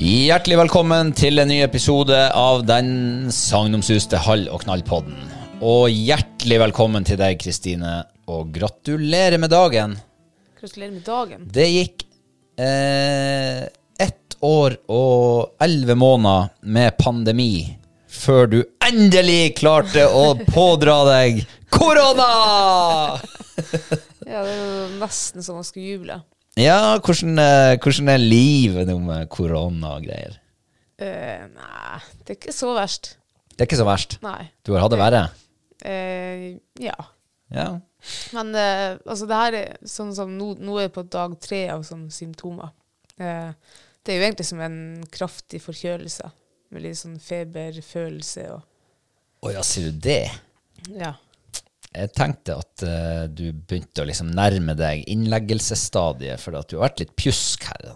Hjertelig velkommen til en ny episode av den sagnomsuste Hall- og knallpodden. Og hjertelig velkommen til deg, Kristine, og gratulerer med dagen. Gratulerer med dagen. Det gikk eh, ett år og elleve måneder med pandemi før du endelig klarte å pådra deg korona! Ja, det er jo nesten som man skulle juble. Ja, hvordan, eh, hvordan er livet nå med korona og greier? Eh, nei, det er ikke så verst. Det er ikke så verst. Nei. Du har hatt det verre? Eh, ja. Ja. Men eh, altså, det her er sånn som nå, nå er jeg på dag tre av sånne symptomer. Eh, det er jo egentlig som en kraftig forkjølelse, med litt sånn feberfølelse og Å ja, sier du det? Ja. Jeg tenkte at eh, du begynte å liksom nærme deg innleggelsesstadiet, for at du har vært litt pjusk her.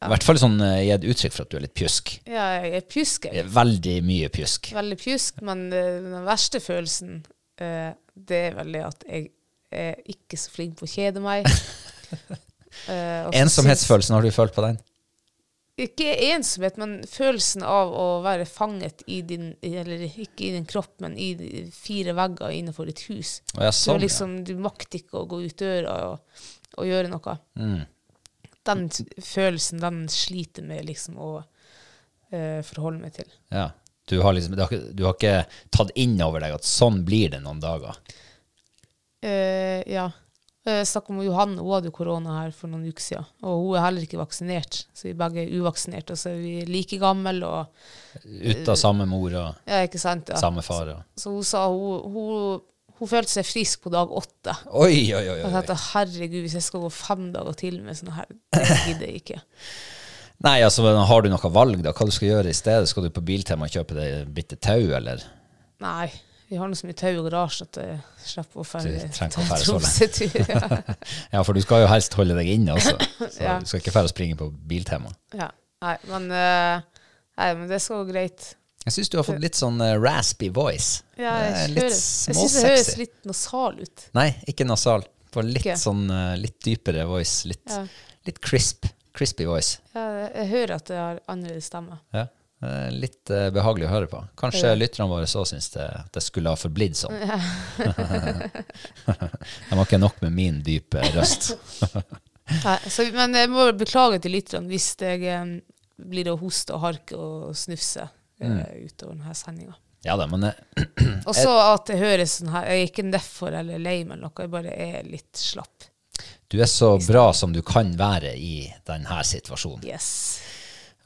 I hvert fall sånn eh, gitt uttrykk for at du er litt pjusk. Eh, ja jeg er pjusker. Veldig mye pjusk. Veldig pjusk, men eh, den verste følelsen, eh, det er veldig at jeg er ikke så flink på å kjede meg. Eh, og så syns- Ensomhetsfølelsen, har du følt på den? ikke ensomhet, men følelsen av å være fanget i din Eller ikke i din kropp, men i de fire vegger innenfor et hus. Å, ja, sånn, du, ja. er liksom, du makter ikke å gå ut døra og, og gjøre noe. Mm. Den t- følelsen, den sliter med liksom å eh, forholde meg til. Ja. Du har liksom, du har, ikke- du har ikke tatt inn over deg at sånn blir det noen dager. Eh, ja. Jeg snakket om Johanne, hun hadde jo korona her for noen uker siden. Og hun er heller ikke vaksinert, så vi begge er uvaksinerte. Og så er vi like gamle, og Ut av samme mor og ja, ikke sant? Ja. samme far. Og. Så hun sa hun, hun, hun følte seg frisk på dag åtte. Oi, oi, oi, Og jeg oi. tenkte herregud, hvis jeg skal gå fem dager til med sånn her, det gidder jeg ikke. Nei, altså, men har du noe valg, da? Hva du skal gjøre i stedet? Skal du på Biltema og kjøpe deg et bitte tau, eller? Nei. Vi har nå så mye tau i garasjen at jeg slipper å Du ferde trenger ikke å ferde så Tromsø-tur. Ja. Ja, for du skal jo helst holde deg inne også. Så Ja. du skal ikke fære å springe på Biltema. ja. Nei, men, eh, nei, men det skal gå greit. Jeg syns du har fått litt sånn eh, raspy voice. Det Ja, er jeg, litt hører- jeg syns det høres småsexy. litt nasal ut. Nei, ikke nasal. Bare litt Ikke? sånn eh, litt dypere voice. Litt, Ja. litt crisp. Crispy voice. Jeg, Eh, jeg hører at jeg har annerledes stemme. Ja. Eh, Litt eh, behagelig å høre på. Kanskje Ja. lytterne våre så syns det, det skulle ha forblitt sånn. De har ikke nok med min dype røst. Nei, så, men jeg må beklage til lytterne hvis jeg eh, blir å hoste og harke og snufse eh, Mm. utover denne sendinga. Ja da, men eh, Og så at det høres sånn her Jeg er ikke nedfor eller lei meg eller noe, jeg bare er litt slapp. Du er så bra som du kan være i denne situasjonen. Yes.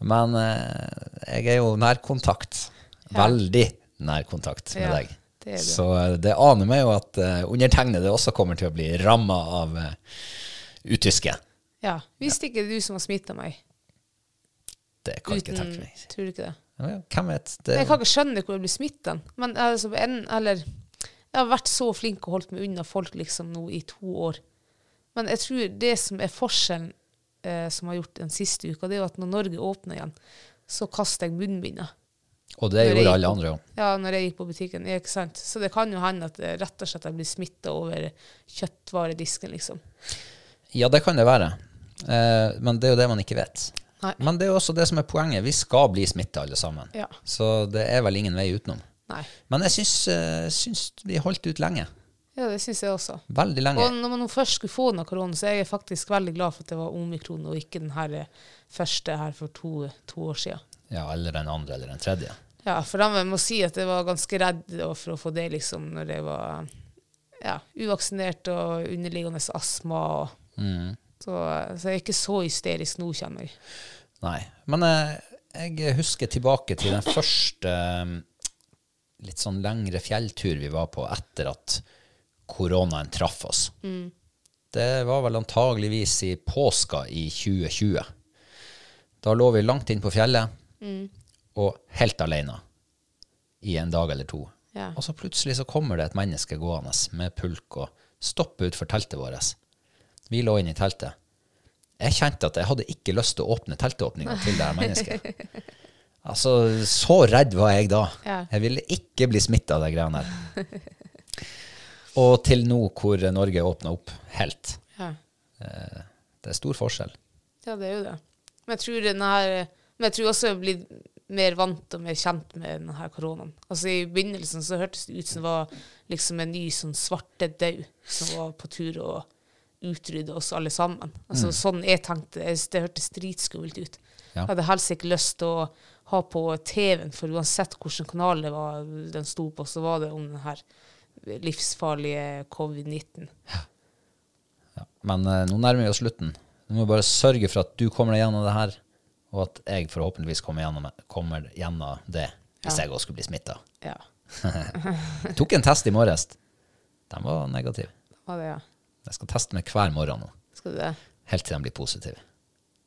Men eh, jeg er jo nærkontakt. Veldig nærkontakt med Ja, deg. det er du. Så eh, det aner meg jo at eh, undertegnede også kommer til å bli ramma av eh, utyske. Ja. Hvis det ikke er du som har smitta meg. Det kan jeg ikke tenke meg. Tror du ikke det? Ja, ja, Hvem vet? Det, Jeg Mm. kan ikke skjønne hvor jeg blir smitta. Men altså, en, eller, jeg har vært så flink og holdt meg unna folk liksom nå i to år. Men jeg tror det som er forskjellen eh, som har gjort den siste uka, det er jo at når Norge åpner igjen, så kaster jeg munnbindet. og det Når jeg gjorde gikk alle på- andre òg. Ja, når jeg gikk på butikken. Ja, ikke sant? Så det kan jo hende at eh, rett og slett jeg blir smitta over kjøttvaredisken, liksom. Ja, det kan det være. Eh, men det er jo det man ikke vet. Nei. Men det er jo også det som er poenget. Vi skal bli smitta alle sammen. Ja. Så det er vel ingen vei utenom. Nei. Men jeg syns, eh, syns vi holdt ut lenge. Ja, det syns jeg også. Veldig lenge. Og når man nå først skulle få noe korona, så er jeg faktisk veldig glad for at det var omikron, og ikke den her eh, første her for to, to år siden. Ja, eller den andre eller den tredje. Ja, for da må jeg si at jeg var ganske redd da for å få det, liksom, når jeg var ja, uvaksinert og underliggende astma. Og, så, så jeg er ikke så hysterisk nå, kjenner jeg. Nei. Men eh, jeg husker tilbake til den første eh, litt sånn lengre fjelltur vi var på etter at koronaen traff oss. Det var vel antageligvis i påska i 2020. Da lå vi langt inn på fjellet og helt alene i en dag eller to. Ja. Og så plutselig så kommer det et menneske gående med pulk og stopper utfor teltet vårt. Vi lå inne i teltet. Jeg kjente at jeg hadde ikke lyst til å åpne teltåpninga til det her mennesket. Altså, så redd var jeg da. Ja. Jeg ville ikke bli smitta av de greiene der. Og til nå hvor Norge åpna opp helt. Ja. Eh, Det er stor forskjell. Ja, det er jo det. Men jeg tror, den her, men jeg tror også jeg blir mer vant og mer kjent med denne koronaen. Altså I begynnelsen så hørtes det ut som det var liksom en ny sånn svartedaud som var på tur å utrydde oss alle sammen. Altså Sånn jeg tenkte jeg, Det hørtes dritskummelt ut. Ja. Jeg hadde helst ikke lyst til å ha på TV-en, for uansett hvilken kanal det var den sto på, så var det om den her livsfarlige covid-19. Ja. Men eh, nå nærmer vi oss slutten. Du må bare sørge for at du kommer deg gjennom det her, og at jeg forhåpentligvis kommer gjennom, kommer gjennom det, hvis jeg også skulle bli smitta. Ja, Tok en test i morges. Den var negativ. det var det, ja. Jeg skal teste meg hver morgen nå, Skal du det? helt til den blir positiv.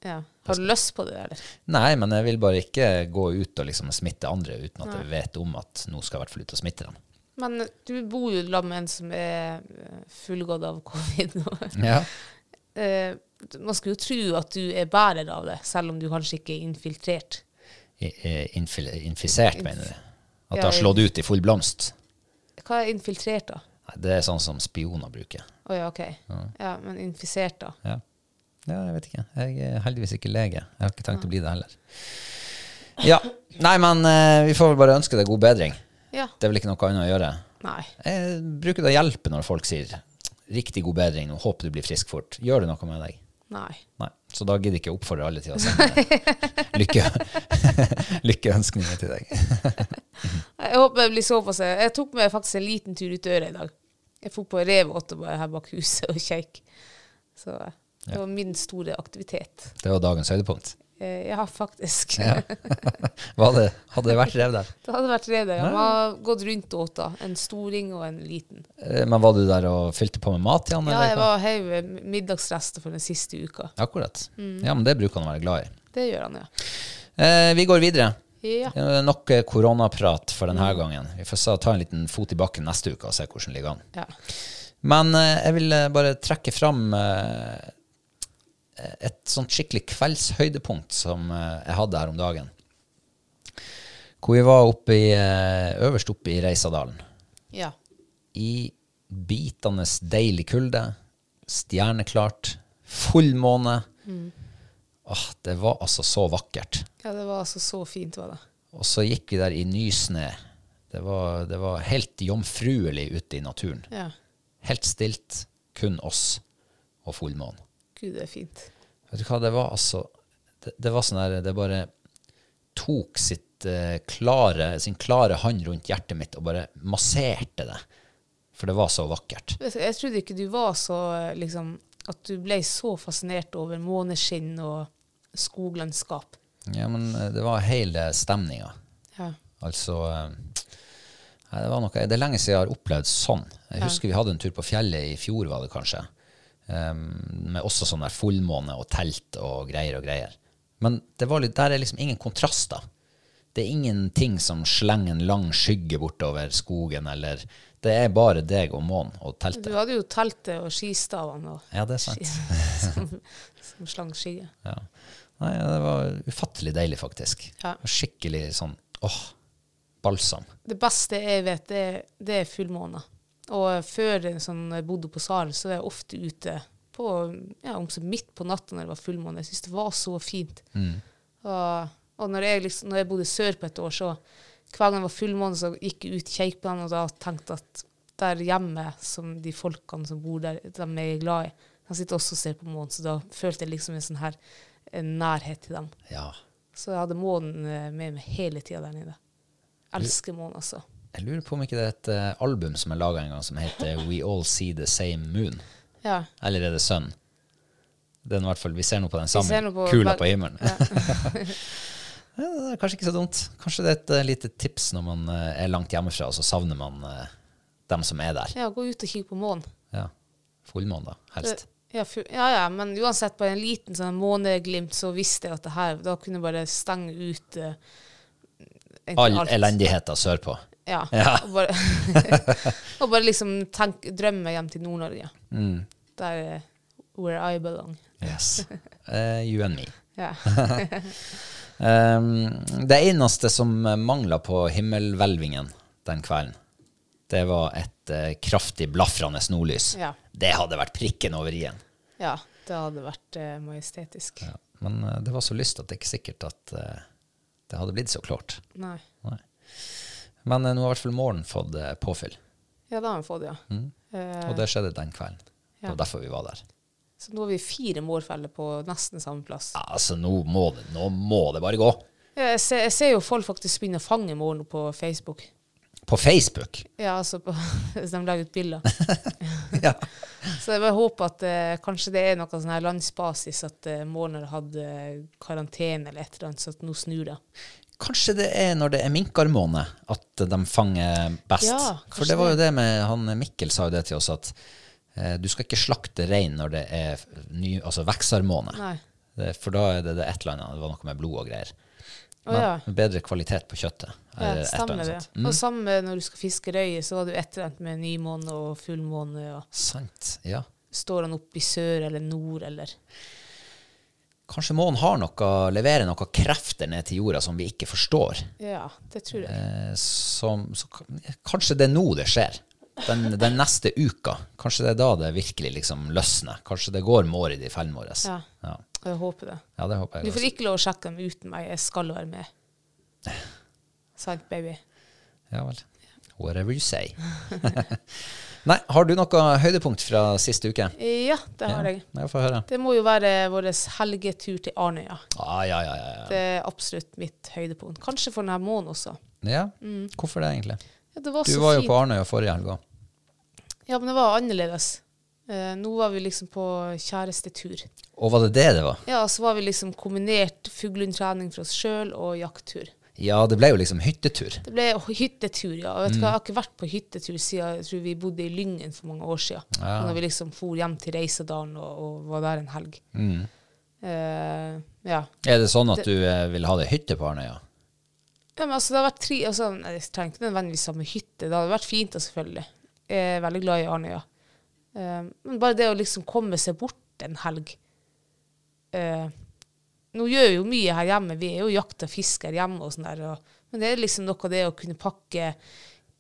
Ja. Har du lyst på det, eller? Nei, men jeg vil bare ikke gå ut og liksom smitte andre uten at jeg vet om at nå skal jeg i hvert fall ut og smitte dem. Men du bor jo sammen med en som er eh, fullgått av covid nå. Ja. Eh, Man skulle jo tro at du er bærer av det, selv om du kanskje ikke er infiltrert. Infil infisert, mener du? At det Ja, har slått ut i full blomst? Hva er infiltrert, da? Nei, det er sånn som spioner bruker. Å ja, OK. Ja, men infisert, da? Ja. ja, jeg vet ikke. Jeg er heldigvis ikke lege. Jeg har ikke tenkt å bli det heller. Ja. Nei, men eh, vi får vel bare ønske deg god bedring. Ja. Det er vel ikke noe annet å gjøre. Nei. Jeg bruker det å hjelpe når folk sier 'riktig god bedring', nå håper du blir frisk fort. Gjør det noe med deg? Nei. Nei. Så da gidder jeg ikke å oppfordre alle til å sende lykke, lykkeønskninger til deg. Jeg håper jeg blir såpass Jeg tok meg faktisk en liten tur ut døra i dag. Jeg dro på revåt og bare her bak huset og kjekk. Så eh, det var min store aktivitet. Det var dagens høydepunkt. Eh, Ja, faktisk. Var det, hadde det vært rev der? Det hadde vært revet. Man har gått rundt og åt da. En storing og en liten. Eh, Men var du der og fylte på med mat igjen? Ja, eller jeg hva? var heiv middagsrester for den siste uka. Akkurat. Mm. Ja, men det bruker han å være glad i. Det gjør han, ja. Eh, vi går videre. Ja, Eh, Nok eh, koronaprat for denne gangen. Vi får sa- ta en liten fot i bakken neste uke og se hvordan det ligger an. ja. Men eh, jeg vil eh, bare trekke fram eh, et sånt skikkelig kveldshøydepunkt som eh, jeg hadde her om dagen. Hvor vi var oppe i, eh, øverst oppe i Reisadalen. ja. I bitende deilig kulde, stjerneklart, full måne. Åh, det var altså så vakkert. Ja, det var altså så fint, var det. Og så gikk vi der i nysnø. Det var, det var helt jomfruelig ute i naturen. Ja. Helt stilt, kun oss og fullmånen. Gud, det er fint. Vet du hva, det var altså Det, det var sånn der Det bare tok sitt eh, klare sin klare hånd rundt hjertet mitt og bare masserte det. For det var så vakkert. Vet du, Jeg trodde ikke du var så eh, liksom at du ble så fascinert over måneskinn og skoglandskap. Ja, men eh, det var hele stemninga. Ja. Altså eh, nei, det, var noe, det er lenge siden jeg har opplevd sånn. Jeg husker vi hadde en tur på fjellet i fjor, var det kanskje. em, med også sånn der fullmåne og telt og greier og greier. Men det var litt, der er liksom ingen kontraster. Det er ingenting som slenger en lang skygge bortover skogen, eller Det er bare deg og månen og teltet. Du hadde jo teltet og skistavene og, Ja, det er sant. som, som slang skyer. Ja. Nei, det var ufattelig deilig, faktisk. Ja. Skikkelig sånn åh, balsam. Det beste jeg vet, det er, det er fullmåne. Og før jeg sånn, når jeg bodde på Saren, så var jeg ofte ute på, ja, om så midt på natta når det var fullmåne. Jeg syntes det var så fint. Og, og når, jeg liksom, når jeg bodde sør på et år, så hver gang det var fullmåne, så gikk jeg ut i Kjeikbanen og da tenkte at der hjemme, som de folkene som bor der, dem er jeg glad i, de sitter også og ser på månen, så da følte jeg liksom en sånn her en nærhet til dem. Ja. Så jeg hadde månen eh, med meg hele tida der nede. Elsker månen, altså. Jeg lurer på om ikke det er et eh, album som er laga en gang, som heter We All See The Same Moon. Ja. Eller er det Sun? Den, i hvert fall, vi ser nå på den ser sammen. nå på Kula hver- på himmelen. Ja, det er kanskje ikke så dumt. Kanskje det er et eh, lite tips når man eh, er langt hjemmefra, og så savner man eh, dem som er der. ja, gå ut og kikke på månen. Ja. Fullmåne, da, helst. Ja, fu- ja, ja, men uansett, bare en liten sånn måneglimt, så visste jeg at det her Da kunne jeg bare stenge ut eh, egentlig All alt. elendigheta sørpå. Ja. Ja. Og, bare, og bare liksom tenk, drømme hjem til Nord-Norge. Mm. Der eh, where I belong. Yes. Eh, you and me. Ja. Ehm, det eneste som mangla på himmelhvelvingen den kvelden, det var et eh, kraftig blafrende nordlys. Ja. Det hadde vært prikken over i-en. ja. Det hadde vært eh, majestetisk. Ja. Men eh, det var så lyst at det ikke er sikkert at eh, det hadde blitt så klart. Nei. Nei. Men eh, nå har i hvert fall morgenen fått eh, påfyll, Ja, da har vi fått det, ja. Eh, Mm. og det skjedde den kvelden. Det Ja. var derfor vi var der. så nå har vi fire mårfeller på nesten samme plass. Ja, altså, nå må det, nå må det bare gå. Ja, jeg, ser, jeg ser jo folk faktisk begynne å fange mål nå på Facebook. På Facebook. Ja, altså på, Hvis de legger ut bilder. ja. Så jeg bare håper at eh, kanskje det er noe sånn her landsbasis at eh, målen har hatt eh, karantene eller et eller annet, så at nå snur det. Kanskje det er når det er minkarmåne at de fanger best. Ja, For kanskje det var jo det med han Mikkel sa jo det til oss, at eh, du skal ikke slakte rein når det er ny, altså veksarmåne. Nei. Det- For da er det, det et eller annet, det var noe med blod og greier. Å ja. Men bedre kvalitet på kjøttet. ja eller et eller stemmer annet det. sånt. Mm. Og samme når du skal fiske røye, så har du et eller annet med nymåne og fullmåne, og Sant, ja. står han opp i sør eller nord eller Kanskje månen har noe, leverer noen krefter ned til jorda som vi ikke forstår. Ja, det tror jeg. Eh, Som, så, kan- kanskje det er nå det skjer. Den, den neste uka. Kanskje det er da det virkelig liksom løsner. Kanskje det går mår i de fellene våre. Ja. Ja. Og jeg håper det. Ja, det håper Du jeg. får Også. ikke lov å sjekke dem uten meg. Jeg skal være med. Sant, baby? Ja vel. Whatever you say. Nei, har du noe høydepunkt fra siste uke? Ja, det har jeg. Ja, Få høre. Det må jo være vår helgetur til Arnøya. Ah, ja, ja, ja, Det er absolutt mitt høydepunkt. Kanskje for denne måneden også. ja. ja. Hvorfor det, egentlig? Ja, det var Du så var jo Mm. fint. på Arnøya forrige helg òg. Ja, men det var annerledes. Eh, nå var vi liksom på kjærestetur. Og var det det det var? Ja, og så var vi liksom kombinert fuglehundtrening for oss sjøl og jakttur. Ja, det ble jo liksom hyttetur. Det ble hyttetur, ja. Og vet du Mm. hva, jeg har ikke vært på hyttetur siden jeg tror vi bodde i Lyngen for mange år siden. Ja. Når vi liksom for hjem til Reisadalen og, og var der en helg. Mm. Eh, ja. Er det sånn at du eh, vil ha deg hytte på Arnøya? Ja, men altså, det har vært tre altså, nei, Jeg trenger ikke nødvendigvis samme hytte. Det hadde vært fint, da, selvfølgelig. Jeg er veldig glad i Arnøya. Eh, men bare det å liksom komme seg bort en helg eh, Nå gjør vi jo mye her hjemme. Vi er jo jakt og fisk her hjemme, og sånn der, og, men det er liksom noe av det å kunne pakke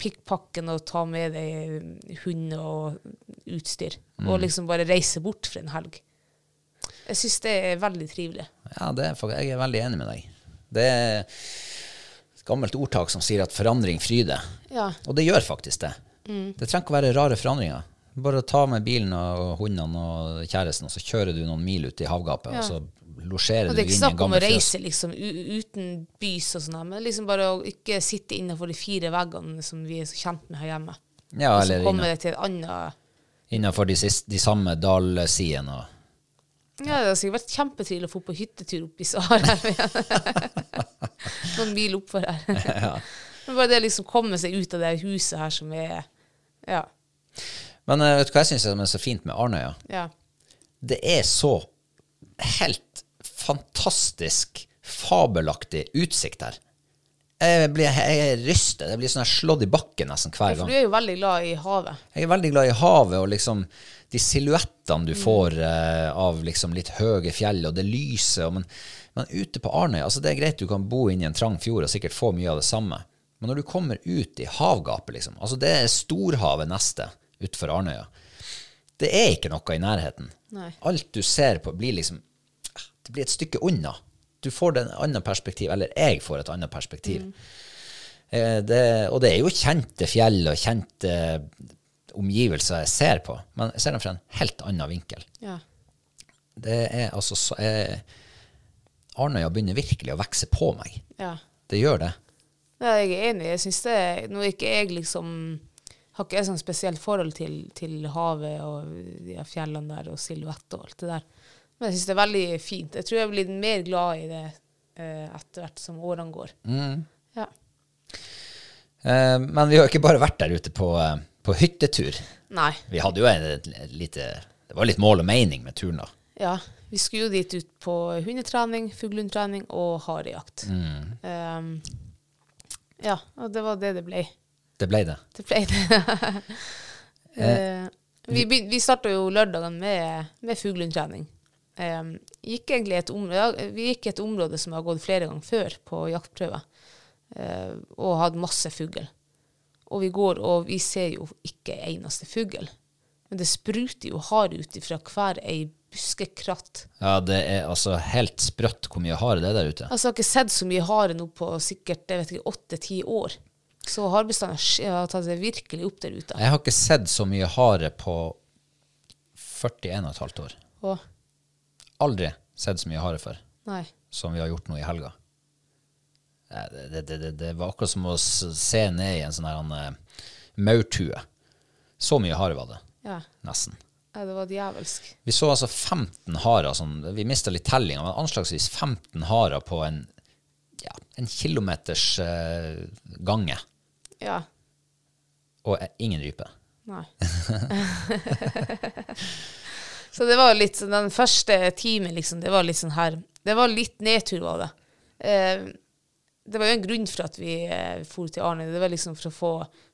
pikkpakken og ta med deg eh, hund og utstyr. Og liksom bare reise bort for en helg. Jeg syns det er veldig trivelig. Ja, det er, fak- jeg er veldig enig med deg. Det er et gammelt ordtak som sier at forandring fryder. Ja. Mm. Og det gjør faktisk det. Det trenger ikke å være rare forandringer. Bare ta med bilen og hundene og kjæresten, og så kjører du noen mil ut i havgapet, Ja. og så losjerer Og du det er inn ikke i en snakk om å gammel fjøs. reise liksom, u uten bys og sånn, her, men liksom bare å ikke sitte innenfor de fire veggene som vi er så kjent med her hjemme. Ja, og så eller kommer inne. det til et annet innenfor de, sis- de samme dalsidene. Ja, det har sikkert vært kjempetrivelig å få på hyttetur opp i Sahara. Noen mil oppfor her. Men bare det å liksom komme seg ut av det huset her som er Ja. Men eh, vet du hva jeg syns er så fint med Arnøya? ja. Det er så helt fantastisk, fabelaktig utsikt her. Jeg, blir, jeg ryster. Jeg blir sånn her slått i bakken nesten hver For gang. du er jo veldig glad i havet. Jeg er veldig glad i havet og liksom de silhuettene du får eh, av liksom litt høye fjell og det lyset. Og men, men ute på Arnøya altså Det er greit du kan bo inni en trang fjord og sikkert få mye av det samme. Men når du kommer ut i havgapet, liksom, altså det er storhavet neste utenfor Arnøya. Det er ikke noe i nærheten. Nei. Alt du ser på, blir liksom Det blir et stykke unna. Du får et annet perspektiv, eller jeg får et annet perspektiv. Eh, Det, og det er jo kjente fjell og kjente eh, omgivelser jeg ser på, men jeg ser dem fra en helt annen vinkel. Ja. Det er altså så eh, Arnøya begynner virkelig å vokse på meg. ja. Det gjør det. Ja, jeg er enig. Jeg synes det Nå er ikke jeg liksom Har ikke jeg sånn spesielt forhold til, til havet og de her fjellene der og silhuett og alt det der. Men jeg synes det er veldig fint. Jeg tror jeg blir mer glad i det eh, etter hvert som årene går. Ja. Eh, men vi har ikke bare vært der ute på, eh, på hyttetur. Nei. Vi hadde jo en, et, lite Det var litt mål og mening med turen, da. Ja. Vi skulle jo dit ut på hundetrening, fuglehundtrening og harejakt. Ehm, ja, og det var det det ble. Det ble det. Det ble det. Eh, vi begyn- vi starta jo lørdagen med, med fuglehundtrening. Eh, gikk egentlig et område, vi gikk et område som har gått flere ganger før på jaktprøve, eh, og hadde masse fugl. Og vi går, og vi ser jo ikke eneste fugl. Men det spruter jo hare ut ifra hver ei buskekratt. Ja, det er altså helt sprøtt hvor mye hare det er der ute. Altså, jeg har ikke sett så mye hare nå på sikkert jeg vet ikke, åtte-ti år. Så harebestanden har sk- har tatt seg virkelig opp der ute. Jeg har ikke sett så mye hare på 41,5 år. Og, Aldri sett så mye hare før nei. som vi har gjort nå i helga. Nei, Det, det, det, det, det var akkurat som å s- se ned i en sånn her han, eh, maurtue. Så mye hare var det. Ja. Nesten. Ja, det var djevelsk. Vi så altså 15 harer, sånn, vi mista litt tellinga, men anslagsvis 15 harer på en, ja, en kilometers eh, gange, Ja. og eh, ingen rype. Nei. så det var litt sånn Den første timen, liksom, det var litt sånn her Det var litt nedtur, var det. Eh, det var jo en grunn for at vi eh, for til Arne. Det var liksom for å få,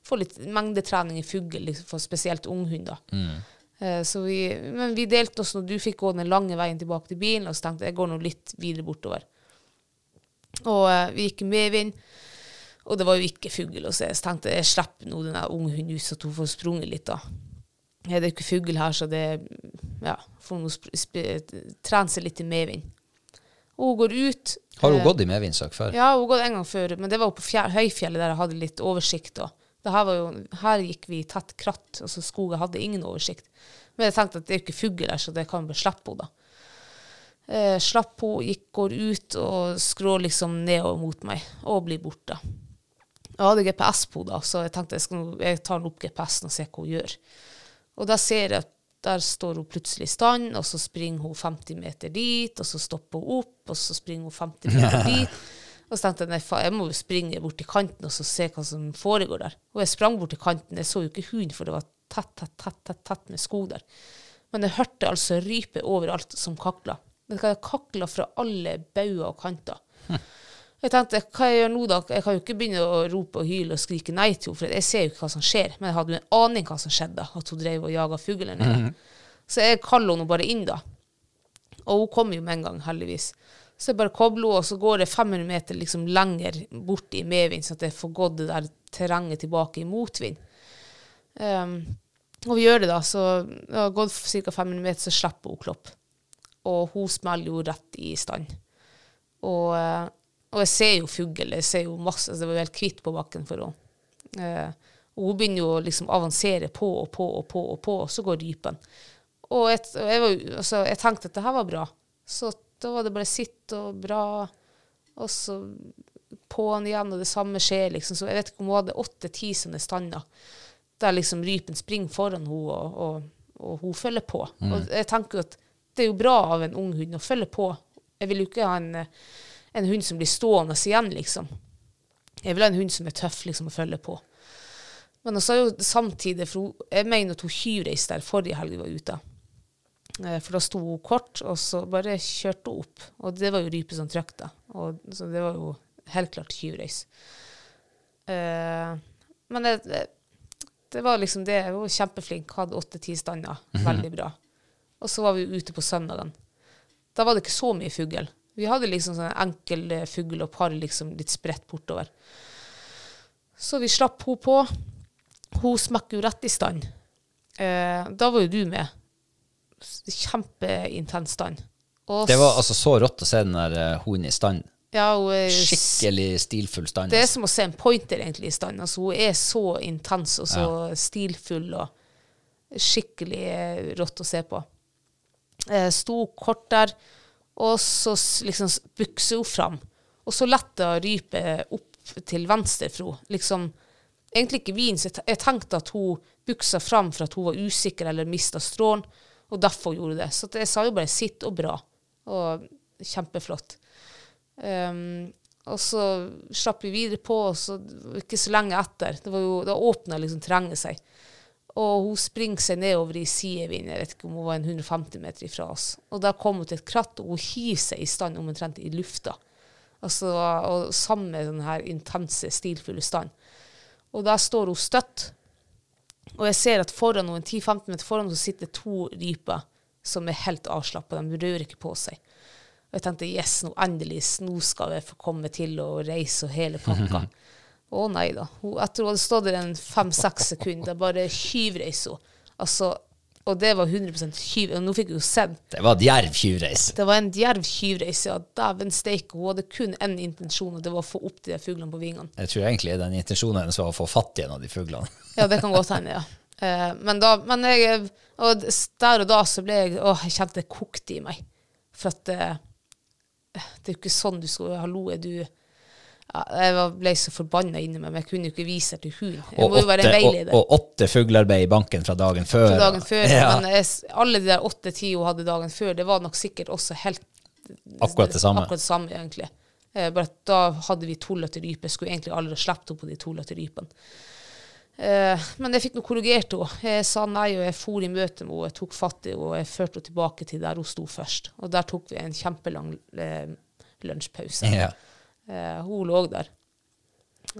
få litt mengdetrening i fugl, liksom, for spesielt unghunder. Eh, så vi, men vi delte oss når du fikk gå den lange veien tilbake til bilen, og så tenkte jeg jeg går nå litt videre bortover. Og eh, vi gikk i medvind. Og det var jo ikke fugl å se, så jeg tenkte jeg slipper nå den der unge hunden ut, så at hun får sprunget litt, da. Ja, det er jo ikke fugl her, så det ja, får hun sp- sp- trene seg litt i medvind. Og hun går ut. Har hun eh, gått i medvindssak før? ja, hun har gått en gang før, men det var jo på fjell, høyfjellet der jeg hadde litt oversikt. da. Det her, var jo, her gikk vi i tett kratt, altså skogen hadde ingen oversikt. Men jeg tenkte at det er jo ikke fugl der, så det kan vi bare slippe henne, da. Eh, slapp henne, gikk, går ut og skrår liksom nedover mot meg, og blir borte. Jeg hadde GPS på henne, da, så jeg tenkte jeg, skal, nå- jeg tar den opp GPS-en og ser hva hun gjør. Og da ser jeg at der står hun plutselig i stand, og så springer hun 50 meter dit, og så stopper hun opp, og så springer hun 50 meter dit. Og så tenkte jeg nei, faen, jeg må jo springe bort til kanten og så se hva som foregår der. Og jeg sprang bort til kanten, jeg så jo ikke hunden, for det var tett, tett, tett, tett, tett med skog der. Men jeg hørte altså rype overalt som kakla. Det kakla fra alle bauger og kanter. Jeg tenkte, hva jeg gjør nå da? Jeg kan jo ikke begynne å rope og hyle og skrike nei til henne, for jeg ser jo ikke hva som skjer. Men jeg hadde jo en aning hva som skjedde, at hun drev og jaga fugler ned. Så jeg kaller henne bare inn da. Og hun kommer jo med en gang, heldigvis. Så jeg bare kobler henne, og så går det 500 meter liksom lenger bort i medvind, sånn at jeg får gått det der terrenget tilbake i motvind. Ehm, og vi gjør det, da. Så det har gått ca. 500 meter, så slipper hun klopp. Og hun smeller jo rett i stand. Og, eh, og jeg ser jo fugl, jeg ser jo masse, altså det var jo helt hvitt på bakken for henne. Eh, og hun begynner jo å liksom avansere på og på og på og på, og så går rypen. Og jeg, og jeg, var, jo- altså, jeg tenkte at det her var bra, så da var det bare sitt og bra, og så på'n igjen, og det samme skjer liksom. Så jeg vet ikke om hun hadde åtte-ti sånne stander der liksom rypen springer foran henne og, og, og hun følger på. Og jeg tenker jo at det er jo bra av en ung hund å følge på. Jeg vil jo ikke ha en, eh, en hund som blir stående igjen, liksom. Jeg vil ha en hund som er tøff liksom, å følge på. Men også er jo samtidig, for hun, jeg mener at hun tjuvreiste der forrige helg vi var ute. Eh, For da sto hun kort, og så bare kjørte hun opp. Og det var jo rype som trykte. Og, så det var jo helt klart tjuvreis. Eh, men det, det, det var liksom det. Hun var kjempeflink, hadde åtte-ti stander. Mhm. Veldig bra. Og så var vi jo ute på søndagen. Da var det ikke så mye fugl. Vi hadde liksom sånn enkel eh, fugl og par liksom litt spredt bortover. Så vi slapp hun på. Hun smekk jo rett i stand. Eh, da var jo du med. S- Kjempeintens stand. Og Det var s- altså så rått å se den der eh, hunden i stand. ja, hun er jo s- Skikkelig stilfull stand. Det er altså. som å se en pointer egentlig i stand. Altså, hun er så intens og så stilfull og skikkelig eh, rått å se på. Eh, Sto kort der, og så s- liksom s- bukser hun fram. Og så letta rypet opp til venstre for henne. Liksom, egentlig ikke vin, så jeg te- jeg tenkte at hun buksa fram for at hun var usikker eller mista strålen, og derfor gjorde det. Så at jeg sa jo bare 'sitt og bra', og kjempeflott. Ehm, og så slapp vi videre på, og så ikke så lenge etter. Det var jo, da åpna liksom terrenget seg. Og hun springer seg nedover i sidevind, jeg vet ikke om hun var en 150 meter ifra oss. Og da kom hun til et kratt, og hun hiver seg i stand omtrent i lufta. Altså, og samme den her intense, stilfulle stand. Og der står hun støtt. Og jeg ser at foran henne, 10-15 meter foran henne, så sitter to ryper som er helt avslappa. De rører ikke på seg. Og jeg tenkte yes, nå endelig, nå skal jeg få komme til å reise og hele pakka. Å nei da. Hun, jeg tror hun hadde stått der en fem-seks sekunder, bare tjuvreise hun. Altså, og det var 100 tjuv. Og nå fikk hun jo sett Det var et djerv tjuvreis. det var en djerv tjuvreise. Ja, dæven steike, hun hadde kun én intensjon, og det var å få opp de der fuglene på vingene. Jeg tror egentlig den intensjonen hennes var å få fatt i en av de fuglene. Ja, det kan godt hende, ja. Eh, men da, men jeg, og s- der og da så ble jeg Åh, jeg kjente det kokte i meg. For at eh, Det er jo ikke sånn du skal Hallo, er du ja, Jeg var- ble så forbanna inni meg, men jeg kunne jo ikke vise det til hun. Jeg Og må jo være åtte, en og, veileder. og åtte fuglearbeid i banken fra dagen før. Fra dagen før, Ja, men eh, jeg, s- alle de der åtte-ti hun hadde dagen før, det var nok sikkert også helt Akkurat det samme. Akkurat det samme, egentlig. Eh, bare at da hadde vi to løtter ryper. Skulle egentlig aldri ha sluppet henne på de to løtter rypene. Eh, men jeg fikk nå korrigert henne. Jeg sa nei, og jeg for i møte med henne. Jeg tok fatt i henne, og jeg førte henne tilbake til der hun sto først. Og der tok vi en kjempelang eh, lunsjpause. Ja. Eh, hun lå der.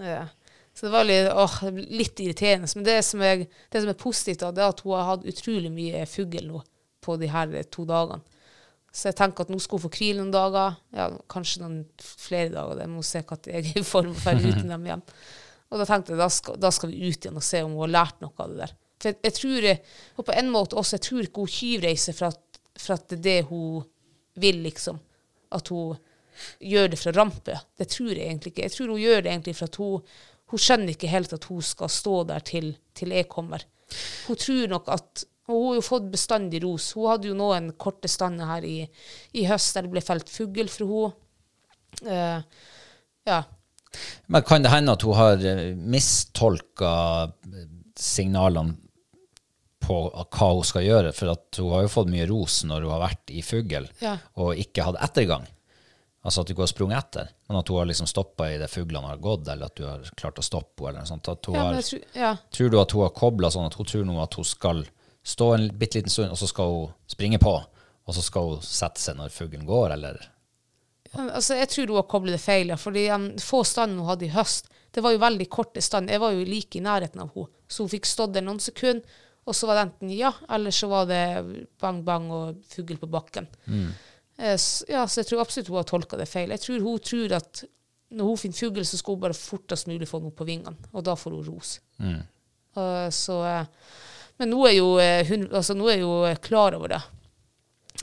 Eh, så det var litt, åh, det ble litt irriterende. Men det som, jeg, det som er positivt, da, det er at hun har hatt utrolig mye fugl nå på de her eh, to dagene. Så jeg tenker at nå skal hun få hvile noen dager, ja, kanskje noen flere dager. Jeg må se hva jeg er i form for å dra uten dem igjen. Og da tenkte jeg da skal, da skal vi ut igjen og se om hun har lært noe av det der. For jeg, jeg tror jeg, og på en måte også, jeg tror ikke hun tjuvreiser for at, for at det er det hun vil, liksom. At hun gjør det fra rampe. Det tror jeg egentlig ikke. Jeg tror hun gjør det egentlig for at hun, hun skjønner ikke helt at hun skal stå der til, til jeg kommer. Hun tror nok at og hun har jo fått bestandig ros. Hun hadde jo nå en korte stand her i, i høst der det ble felt fugl fra henne. Eh, ja, Men kan det hende at hun har eh, mistolka eh, signalene på hva hun skal gjøre? For at hun har jo fått mye ros når hun har vært i fugl Ja. og ikke hatt ettergang. Altså at du ikke har sprunget etter, men at hun har liksom stoppa i det fuglene har gått, eller at du har klart å stoppe henne, eller noe sånt. At hun ja, men har, jeg tror, ja. Tror du at hun har kobla sånn at hun tror nå at hun skal stå en bitte liten stund, og så skal hun springe på, og så skal hun sette seg når fuglen går, eller Altså, jeg tror hun har koblet det feil, ja. Fordi um, få standen hun hadde i høst, det var jo veldig korte stand. Jeg var jo like i nærheten av henne. Så hun fikk stått der noen sekunder, og så var det enten ja, eller så var det bang, bang og fugl på bakken. Eh, s- ja, så jeg tror absolutt hun har tolka det feil. Jeg tror hun tror at når hun finner fugl, så skal hun bare fortest mulig få den opp på vingene, og da får hun ros. Eh, så, eh, men nå er jo eh, hun altså, nå er jo eh, klar over det.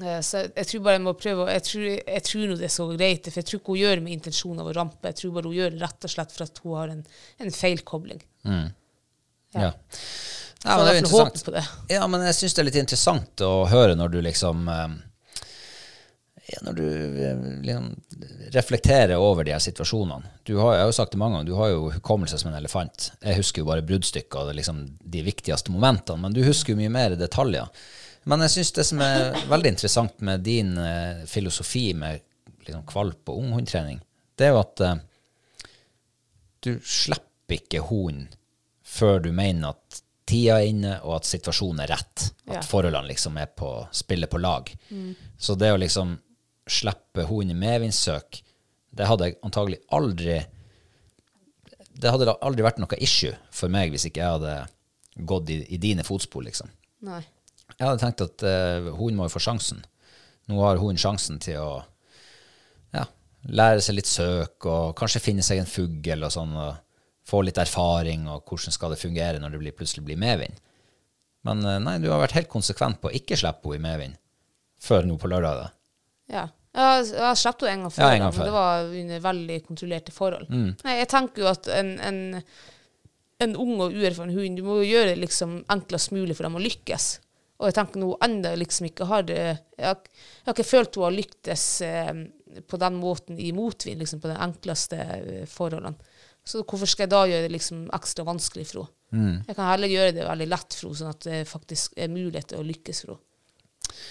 Eh, Så jeg, jeg tror bare jeg må prøve å- Jeg tror, jeg tror nå det er så greit, for jeg tror ikke hun gjør det med intensjon av å rampe. Jeg tror bare hun gjør det rett og slett for at hun har en, en feilkobling. Ja. Ja. Nei, men det er jo Så jeg får håpe interessant. på det. Ja, men jeg syns det er litt interessant å høre når du liksom eh, ja, Når du eh, liksom reflekterer over de her situasjonene. Du har, jeg har jo sagt det mange ganger, du har jo hukommelse som en elefant. Jeg husker jo bare bruddstykker og det er liksom de viktigste momentene, men du husker jo mye mer detaljer. Men jeg syns det som er veldig interessant med din eh, filosofi med liksom, kvalp- og unghundtrening, det er jo at eh, du slipper ikke hunden før du mener at tida er inne, og at situasjonen er rett. At Ja. forholdene liksom er på, spiller på lag. Så det å liksom slippe hunden i medvindssøk, det hadde jeg antagelig aldri Det hadde da aldri vært noe issue for meg hvis ikke jeg hadde gått i, i dine fotspor, liksom. Nei. Jeg hadde tenkt at eh, hun må jo få sjansen. Nå har hun sjansen til å ja, lære seg litt søk, og kanskje finne seg en fugl og sånn, og få litt erfaring, og hvordan skal det fungere når det blir, plutselig blir medvind. Men eh, nei, du har vært helt konsekvent på å ikke slippe henne i medvind før nå på lørdag. da. Ja. Jeg har- jeg har sluppet henne en gang før, Ja, en gang Mm. men det før. var under veldig kontrollerte forhold. Nei, jeg tenker jo at en, en, en ung og uerfaren hund, du må jo gjøre det liksom enklest mulig for dem å lykkes. Og jeg tenker nå enda liksom ikke har det Jeg har, jeg har ikke følt hun har lyktes eh, på den måten i motvind, liksom på de enkleste eh, forholdene. Så hvorfor skal jeg da gjøre det liksom ekstra vanskelig for henne? Mm. Jeg kan heller gjøre det veldig lett for henne, sånn at det faktisk er mulighet til å lykkes for henne.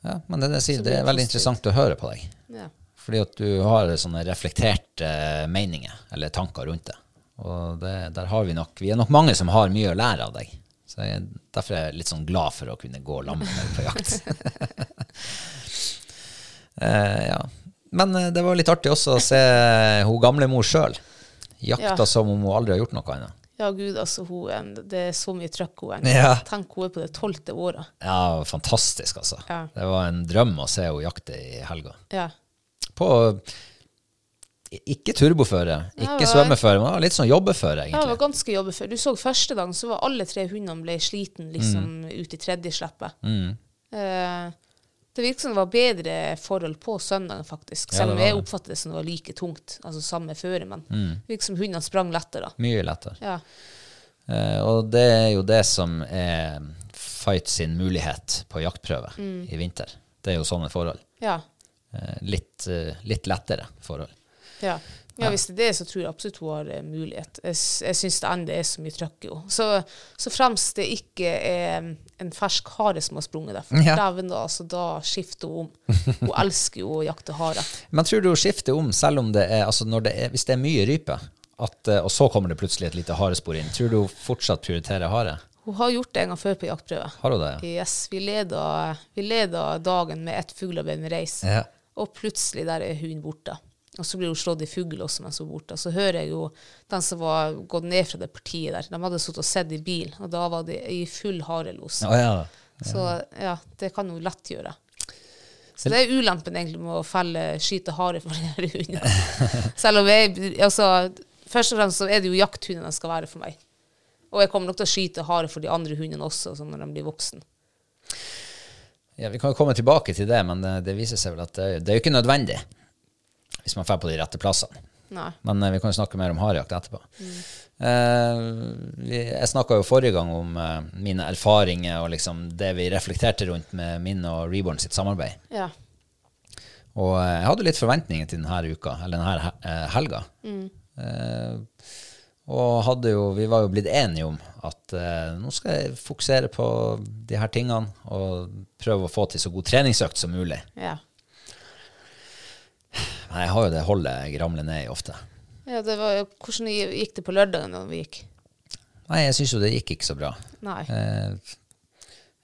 Ja, men det, er det, jeg sier, Så det blir det er veldig positivt. interessant å høre på deg. Ja. Fordi at du har sånne reflekterte eh, meninger eller tanker rundt det. Og det, der har vi nok Vi er nok mange som har mye å lære av deg. Så jeg, Derfor er jeg litt sånn glad for å kunne gå sammen med deg på jakt. eh, ja. Men eh, det var litt artig også å se eh, hun gamlemor sjøl. Jakta Ja. som om hun aldri har gjort noe annet. Ja, gud, altså, hun, er- det er så mye trøkk hun er. Ja. Tenk, hun er på det tolvte året. Ja, fantastisk, altså. Ja. Det var en drøm å se henne jakte i helga. Ja. på ikke turboføre, Ja, ikke det var- svømmeføre, men det var litt sånn jobbeføre, Ja, det egentlig. var ganske jobbet før. Du så første dagen, så var alle tre hundene ble sliten liksom Mm. ut i tredje sleppet. Eh, det virket som det var bedre forhold på søndagen, faktisk. Ja, Selv det om var jeg det. Mm. oppfattet det som det var like tungt, altså samme føre, men det virket som hundene sprang lettere. Mye lettere. Ja. Eh, og det er jo det som er Fight sin mulighet på jaktprøve Mm. i vinter. Det er jo sånne forhold. Ja. Eh, litt, eh, litt lettere forhold. Ja. ja, hvis det er det, så tror jeg absolutt hun har eh, mulighet. Jeg, s- jeg syns det ennå er så mye trøkk i henne. Så, så fremst det ikke er mm, en fersk hare som har sprunget derfor. Ja. Dæven, da, altså, da skifter hun om. Hun elsker jo å jakte hare. Men tror du hun skifter om selv om det er, altså når det er hvis det er mye rype, at, eh, og så kommer det plutselig et lite harespor inn? Tror du hun fortsatt prioriterer hare? Hun har gjort det en gang før på jaktprøve. Har hun det? ja? Yes, vi leda, vi leda dagen med ett fuglearbeid med reis. Ja. Og plutselig der er hunden borte. Og så blir hun slått i fugl også mens hun er borte. Og så hører jeg jo den som var gått ned fra det partiet der, de hadde sittet og sett i bil, og da var de i full harelos. Å ja. Så ja, det kan hun lett gjøre. Så det er ulempen egentlig med å felle, skyte hare for de her hundene. Selv om jeg, altså, først og fremst så er det jo jakthundene de skal være for meg. Og jeg kommer nok til å skyte hare for de andre hundene også, sånn når de blir voksne. Ja, Vi kan jo komme tilbake til det, men eh, det, det viser seg vel at det, det er jo ikke nødvendig hvis man drar på de rette plassene. Nei. Men eh, vi kan jo snakke mer om harejakt etterpå. Eh, vi, jeg snakka jo forrige gang om eh, mine erfaringer og liksom det vi reflekterte rundt med min og Reborn sitt samarbeid. Ja. Og eh, jeg hadde litt forventninger til denne uka, eller denne he- eh, helga. Eh, og hadde jo, vi var jo blitt enige om at eh, nå skal jeg fokusere på de her tingene og prøve å få til så god treningsøkt som mulig. Ja. Nei, jeg har jo det holdet jeg ramler ned i ofte. ja det var, jo- hvordan gikk det på lørdagen da vi gikk? Nei, jeg syns jo det gikk ikke så bra. Nei. Eh,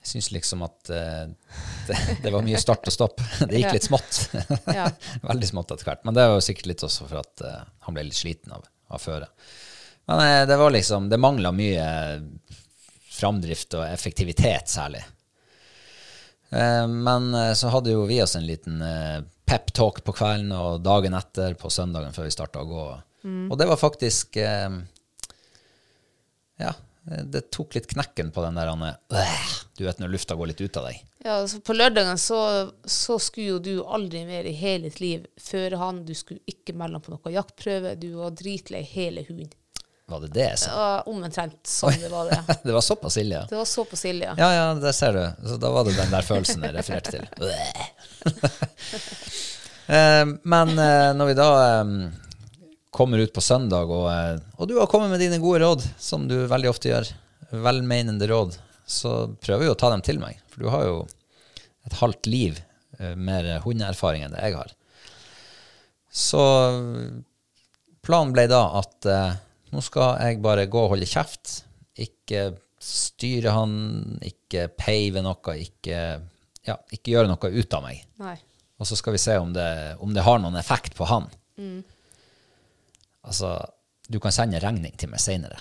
jeg syns liksom at eh, det, det var mye start og stopp. Det Ja. gikk litt smått. Ja. Veldig smått etter hvert. Men det var jo sikkert litt også for at eh, han ble litt sliten av, av føret. Men eh, det var liksom Det mangla mye framdrift og effektivitet, særlig. Eh, Men eh, så hadde jo vi oss en liten eh, pep talk på kvelden og dagen etter på søndagen før vi starta å gå. Mm. Og det var faktisk eh, Ja, det tok litt knekken på den der han er, øh, Du vet når lufta går litt ut av deg. Ja, altså på lørdagen så, så skulle jo du aldri mer i hele ditt liv føre han. Du skulle ikke melde han på noen jaktprøve. Du var dritlei hele hunden. Var det det jeg sa? Det var omtrent sånn det var. Det Det var såpass ille, ja. Det var så på Silja. Ja, ja, der ser du. Så da var det den der følelsen jeg refererte til. Øh. Eh, men eh, når vi da eh, kommer ut på søndag, og, eh, og du har kommet med dine gode råd, som du veldig ofte gjør, velmenende råd, så prøver jeg å ta dem til meg. For du har jo et halvt liv eh, mer hundeerfaring enn det jeg har. Så planen ble da at eh, nå skal jeg bare gå og holde kjeft. Ikke styre han, ikke peive noe, ikke, ja, ikke gjøre noe ut av meg. Nei. Og så skal vi se om det, om det har noen effekt på han. Altså, du kan sende regning til meg seinere.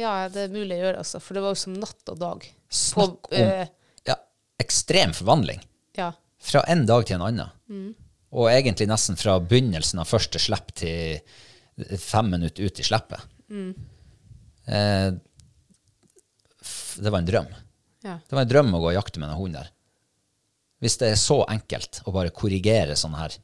Ja, det er mulig å gjøre, altså. For det var jo som natt og dag. Snakk om eh, ja, ekstrem forvandling Ja. fra en dag til en annen. Og egentlig nesten fra begynnelsen av første slipp til fem minutter ut i slippet. Eh, f- det var en drøm. ja. Det var en drøm å gå og jakte med en hund der. Hvis det er så enkelt å bare korrigere sånn her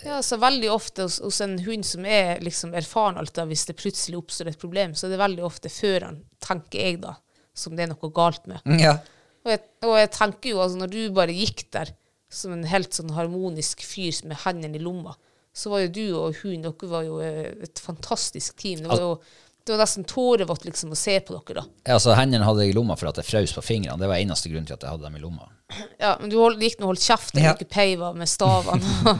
Ja, altså Veldig ofte hos, hos en hund som er liksom erfaren alt da, hvis det plutselig oppstår et problem, så er det veldig ofte føreren, tenker jeg da, som det er noe galt med. Ja. Og jeg, og jeg tenker jo, altså når du bare gikk der som en helt sånn harmonisk fyr med hendene i lomma, så var jo du og hun, dere var jo eh, et fantastisk team. Det var jo det var nesten tårevått liksom å se på dere da. Ja, så Altså, Hendene hadde jeg i lomma for at jeg frøs på fingrene. Det var eneste grunn til at jeg hadde dem i lomma. Ja, men du hold, gikk nå og holdt kjeft, og Ja. ikke peiva med stavene.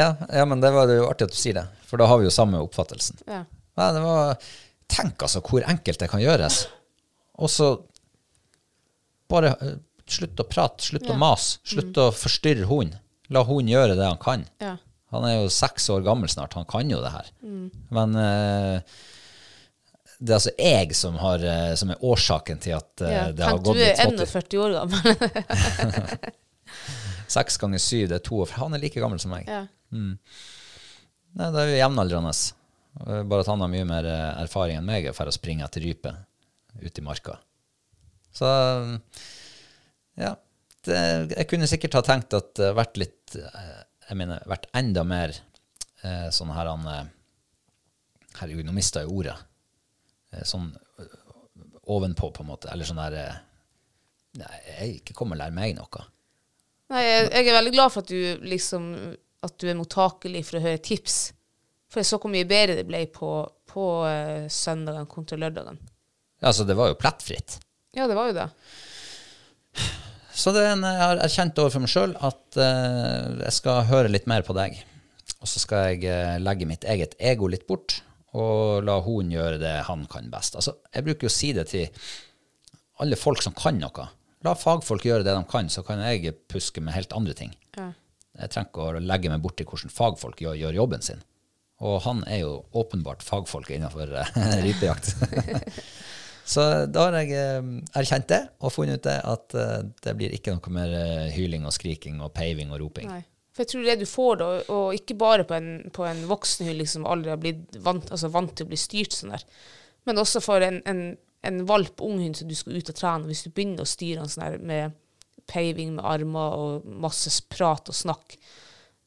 Ja, ja men det var det jo artig at du sier det, for da har vi jo samme oppfattelsen. ja. Nei, det var, tenk altså hvor enkelt det kan gjøres. Og så bare eh, slutt å prate, slutt å mase, slutt å forstyrre hunden. La hunden gjøre det han kan. Mm. Ja. Mm. Han er jo seks år gammel snart, han kan jo det her. Men eh, det er altså jeg som, har, eh, som er årsaken til at eh, Ja, det har Tenk, gått du litt er smått. 41 år gammel. Seks ganger syv, det er to. og f- Han er like gammel som meg. ja. Nei, det er jo jevnaldrende. Eh, Bare at han har mye mer eh, erfaring enn meg for å springe etter rype ute i marka. Så eh, ja. Det, jeg kunne sikkert ha tenkt at det vært litt eh, Jeg mener, vært enda mer eh, sånn her han eh, Herregud, nå mista jeg ordet. Eh, sånn eh, ovenpå, på en måte. Eller sånn der eh, Nei, jeg ikke kommer lære meg noe. Nei, jeg, jeg er veldig glad for at du liksom At du er mottakelig for å høre tips. For jeg så hvor mye bedre det ble på, på eh, søndagen kontra lørdagen. Altså, det var jo plettfritt. Ja, det var jo det. Så det er en, jeg har erkjent overfor meg sjøl at eh, jeg skal høre litt mer på deg. Og så skal jeg eh, legge mitt eget ego litt bort og la hunden gjøre det han kan best. Altså, jeg bruker jo å si det til alle folk som kan noe. La fagfolk gjøre det de kan, så kan jeg puske med helt andre ting. Ja. Jeg trenger ikke å legge meg borti hvordan fagfolk gjør, gjør jobben sin. Og han er jo åpenbart fagfolket innenfor eh, rypejakt. Så da har jeg eh, erkjent det og funnet ut det at eh, det blir ikke noe mer eh, hyling og skriking og peiving og roping. Nei. For jeg tror det du får da, og ikke bare på en, på en voksen hund liksom aldri har blitt vant, altså vant til å bli styrt sånn der, men også for en, en, en valp ung hund som du skal ut og trene, hvis du begynner å styre han sånn der med peiving med armer og masse prat og snakk,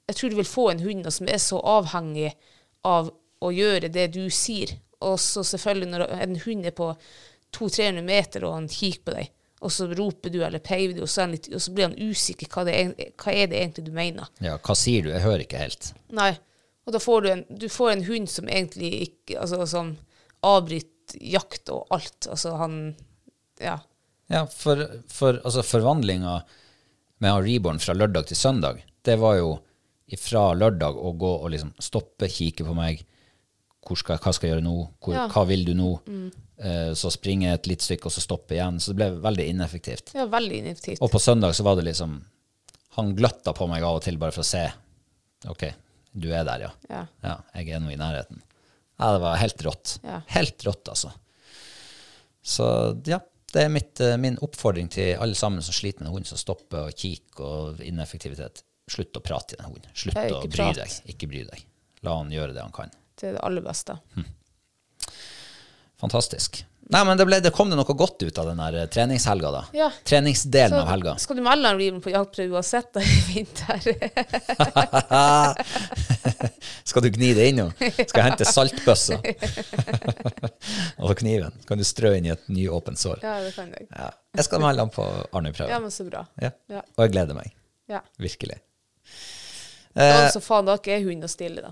jeg tror du vil få en hund da, som er så avhengig av å gjøre det du sier. Og så selvfølgelig når en hund er på 200-300 meter og han kikker på deg, og så roper du eller peiver du, og så, er han litt, og så blir han usikker hva, det, er- hva er det egentlig du mener. Ja, hva sier du? Jeg hører ikke helt. Nei. Og da får du en, du får en hund som egentlig ikke altså, som avbryter jakt og alt. Altså han Ja. Ja, for, for altså, forvandlinga med han Reborn fra lørdag til søndag, det var jo fra lørdag å gå og liksom stoppe, kikke på meg, hvor skal, hva skal jeg gjøre nå, hvor, Ja. hva vil du nå, Eh, så springe et litt stykke og så stoppe igjen, så det ble veldig ineffektivt. Det er veldig ineffektivt. Og på søndag så var det liksom, han gløtta på meg av og til bare for å se, ok, du er der, ja. Ja. Ja, jeg er nå i nærheten. Ja, det var helt rått. Ja. Helt rått, altså. Så ja, det er mitt, eh, min oppfordring til alle sammen som sliter med en hund, som stopper og kikker og ineffektivitet. Slutt å prate til den hunden. Slutt Ja, å ikke bry prat. deg. Ikke bry deg. La han gjøre det han kan. Det er det aller beste. Fantastisk. Nei, men det, ble, det kom det noe godt ut av den der eh, treningshelga, da. Ja. Treningsdelen Så av helga. skal du melde han Reeven på jaktprøve uansett da i vinter? Skal du gni det inn nå? Skal jeg hente saltbøssa og kniven? Kan du strø inn i et nyåpent sår? ja, det kan jeg. Ja. Jeg skal melde han på Arnøy-prøven. Ja, men så bra. Ja. Ja. Og jeg gleder meg. Ja. Virkelig. Da, Eh, så faen, da er ikke jeg hund og stille, da.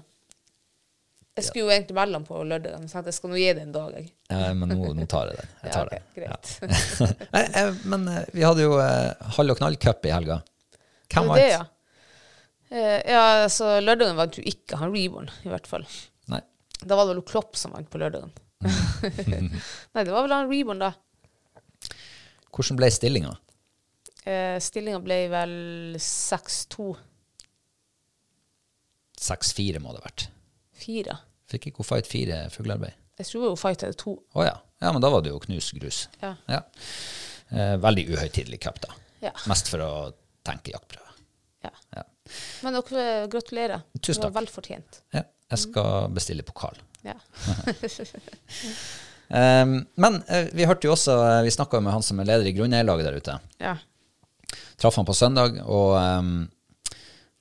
Jeg skulle jo egentlig melde han på lørdag, men jeg tenkte jeg skal nå gi det en dag, jeg. ja, men nå, nå tar jeg den. Jeg tar ja, den. ok, greit. Nei, eh, men eh, vi hadde jo eh, Hall og knall-cup i helga. Hvem Men vant? det, ja. Eh, ja, så lørdagen vant jo ikke han Reborn, i hvert fall. Nei. Da var det vel Klopp som vant på lørdagen. Nei, det var vel han Reborn, da. Hvordan ble stillinga? Eh, Stillinga ble vel 6-2-4. 6-4 må det ha vært. Fikk ikke hun fight fire fuglearbeid? Jeg tror jo Fight hadde to. Å ja. ja. Men da var det jo knus grus. Ja. Eh, veldig uhøytidelig cup, da. Ja. Mest for å tenke jaktprøve. Ja. Ja. Men dere eh, gratulerer. Tusen Det var takk. velfortjent. Ja. Jeg skal bestille pokal. Ja. Um, men eh, vi hørte jo også eh, Vi snakka med han som er leder i grunneierlaget der ute. ja. Traff han på søndag, og ehm,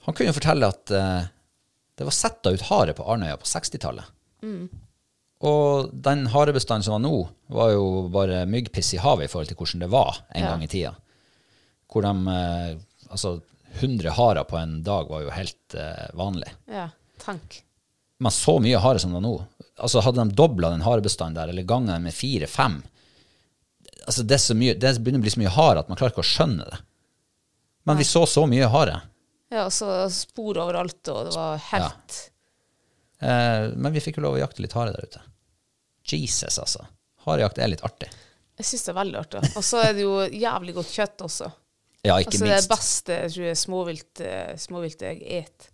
han kunne jo fortelle at eh, det var setta ut hare på Arnøya på 60-tallet. Og den harebestanden som var nå, var jo bare myggpiss i havet i forhold til hvordan det var en Ja. gang i tida. Hvor de eh, Altså, 100 harer på en dag var jo helt eh, vanlig. ja. Tenk. Men så mye hare som det er nå altså Hadde de dobla den harebestanden der, eller ganga den med fire-fem altså det, er så mye- det begynner å bli så mye hare at man klarer ikke å skjønne det. Men vi så så mye hare. Ja, og så spor overalt, og det var helt Eh, men vi fikk jo lov å jakte litt hare der ute. Jesus, altså. Harejakt er litt artig. Jeg syns det er veldig artig. Og så er det jo jævlig godt kjøtt også. Ja, ikke Altså det minst. beste jeg tror jeg småvilt, eh, småvilt jeg et.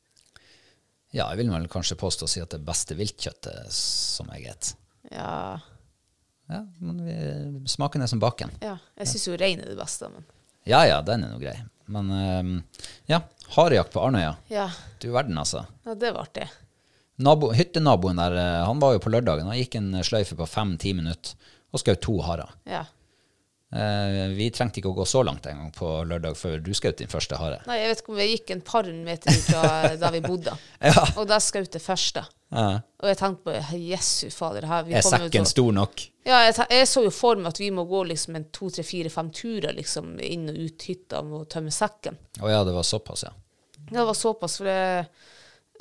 Ja, jeg vil vel kanskje påstå å si at det beste viltkjøttet som jeg spiser. Ja, Ja, men vi, smaken er som baken. ja. Jeg syns jo rein er det beste, men Ja ja, den er nå grei. Men eh, ja, harejakt på Arnøya. ja. Du verden, altså. ja det var artig. Nabo, hyttenaboen der, eh, han var jo på lørdagen. Han gikk en sløyfe på fem-ti minutter og skjøt to harer. Ja. Eh, vi trengte ikke å gå så langt engang på lørdag før du skjøt din første hare. Nei, jeg vet ikke om vi gikk en par meter ut fra der vi bodde, Ja. og der skjøt det første. Ja. Og jeg tenkte på Jesu fader, her vi Er kommer jo til sekken å- stor nok? Ja, jeg, te- jeg så jo for meg at vi må gå liksom en to, tre, fire, fem turer liksom inn og ut hytta og tømme sekken. Å ja, det var såpass, ja. Det var såpass, for det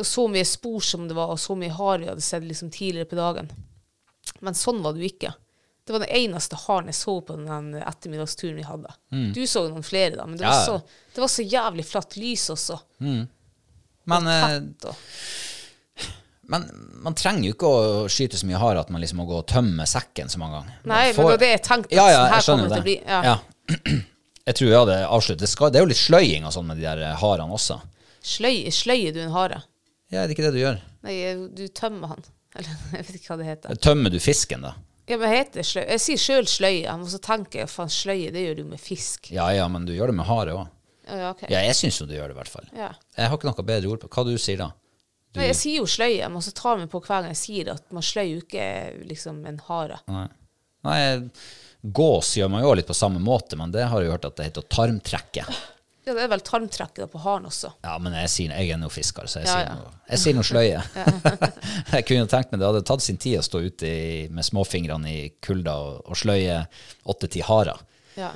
og så mye spor som det var, og så mye hare vi hadde sett liksom tidligere på dagen. Men sånn var det jo ikke. Det var den eneste haren jeg så på den ettermiddagsturen vi hadde. Du så jo noen flere, da, men det, Mm. Ja. var så, det var så jævlig flatt lys også. Men, eh, Tett og men man trenger jo ikke å skyte så mye hare at man liksom må gå og tømme sekken så mange ganger. Nei, men Får- det var det jeg tenkte. Ja, ja, sånn jeg her kommer skjønner til å det. bli- ja. Ja. Jeg tror jeg hadde avsluttet. Det, skal, det er jo litt sløying og sånn med de der eh, harene også. Sløy, sløyer du en hare? Ja, er det ikke det du gjør? Nei, du tømmer han. Eller jeg vet ikke hva det heter. Tømmer du fisken, da? Ja, men heter det sløy? Jeg sier sjøl sløye, men så tenker jeg faen, sløye, det gjør du med fisk. Ja ja, men du gjør det med hare òg. Ja, ja, ok. Ja, jeg syns jo du gjør det, i hvert fall. Ja. Jeg har ikke noe bedre ord på Hva du sier da? Nei, jeg sier jo sløye, men så tar vi på hver gang jeg sier det, at man sløyer jo ikke liksom en hare. Nei. Nei, gås gjør man jo litt på samme måte, men det har jeg jo hørt at det heter å tarmtrekke. Ja, det er vel tarmtrekket da på haren også. Ja, men jeg, sier, jeg er nå fisker, så jeg Ja, sier ja. noe, jeg sier noe sløye. jeg kunne jo tenkt meg det hadde tatt sin tid å stå ute i, med småfingrene i kulda og, og sløye åtte-ti harer. Ja,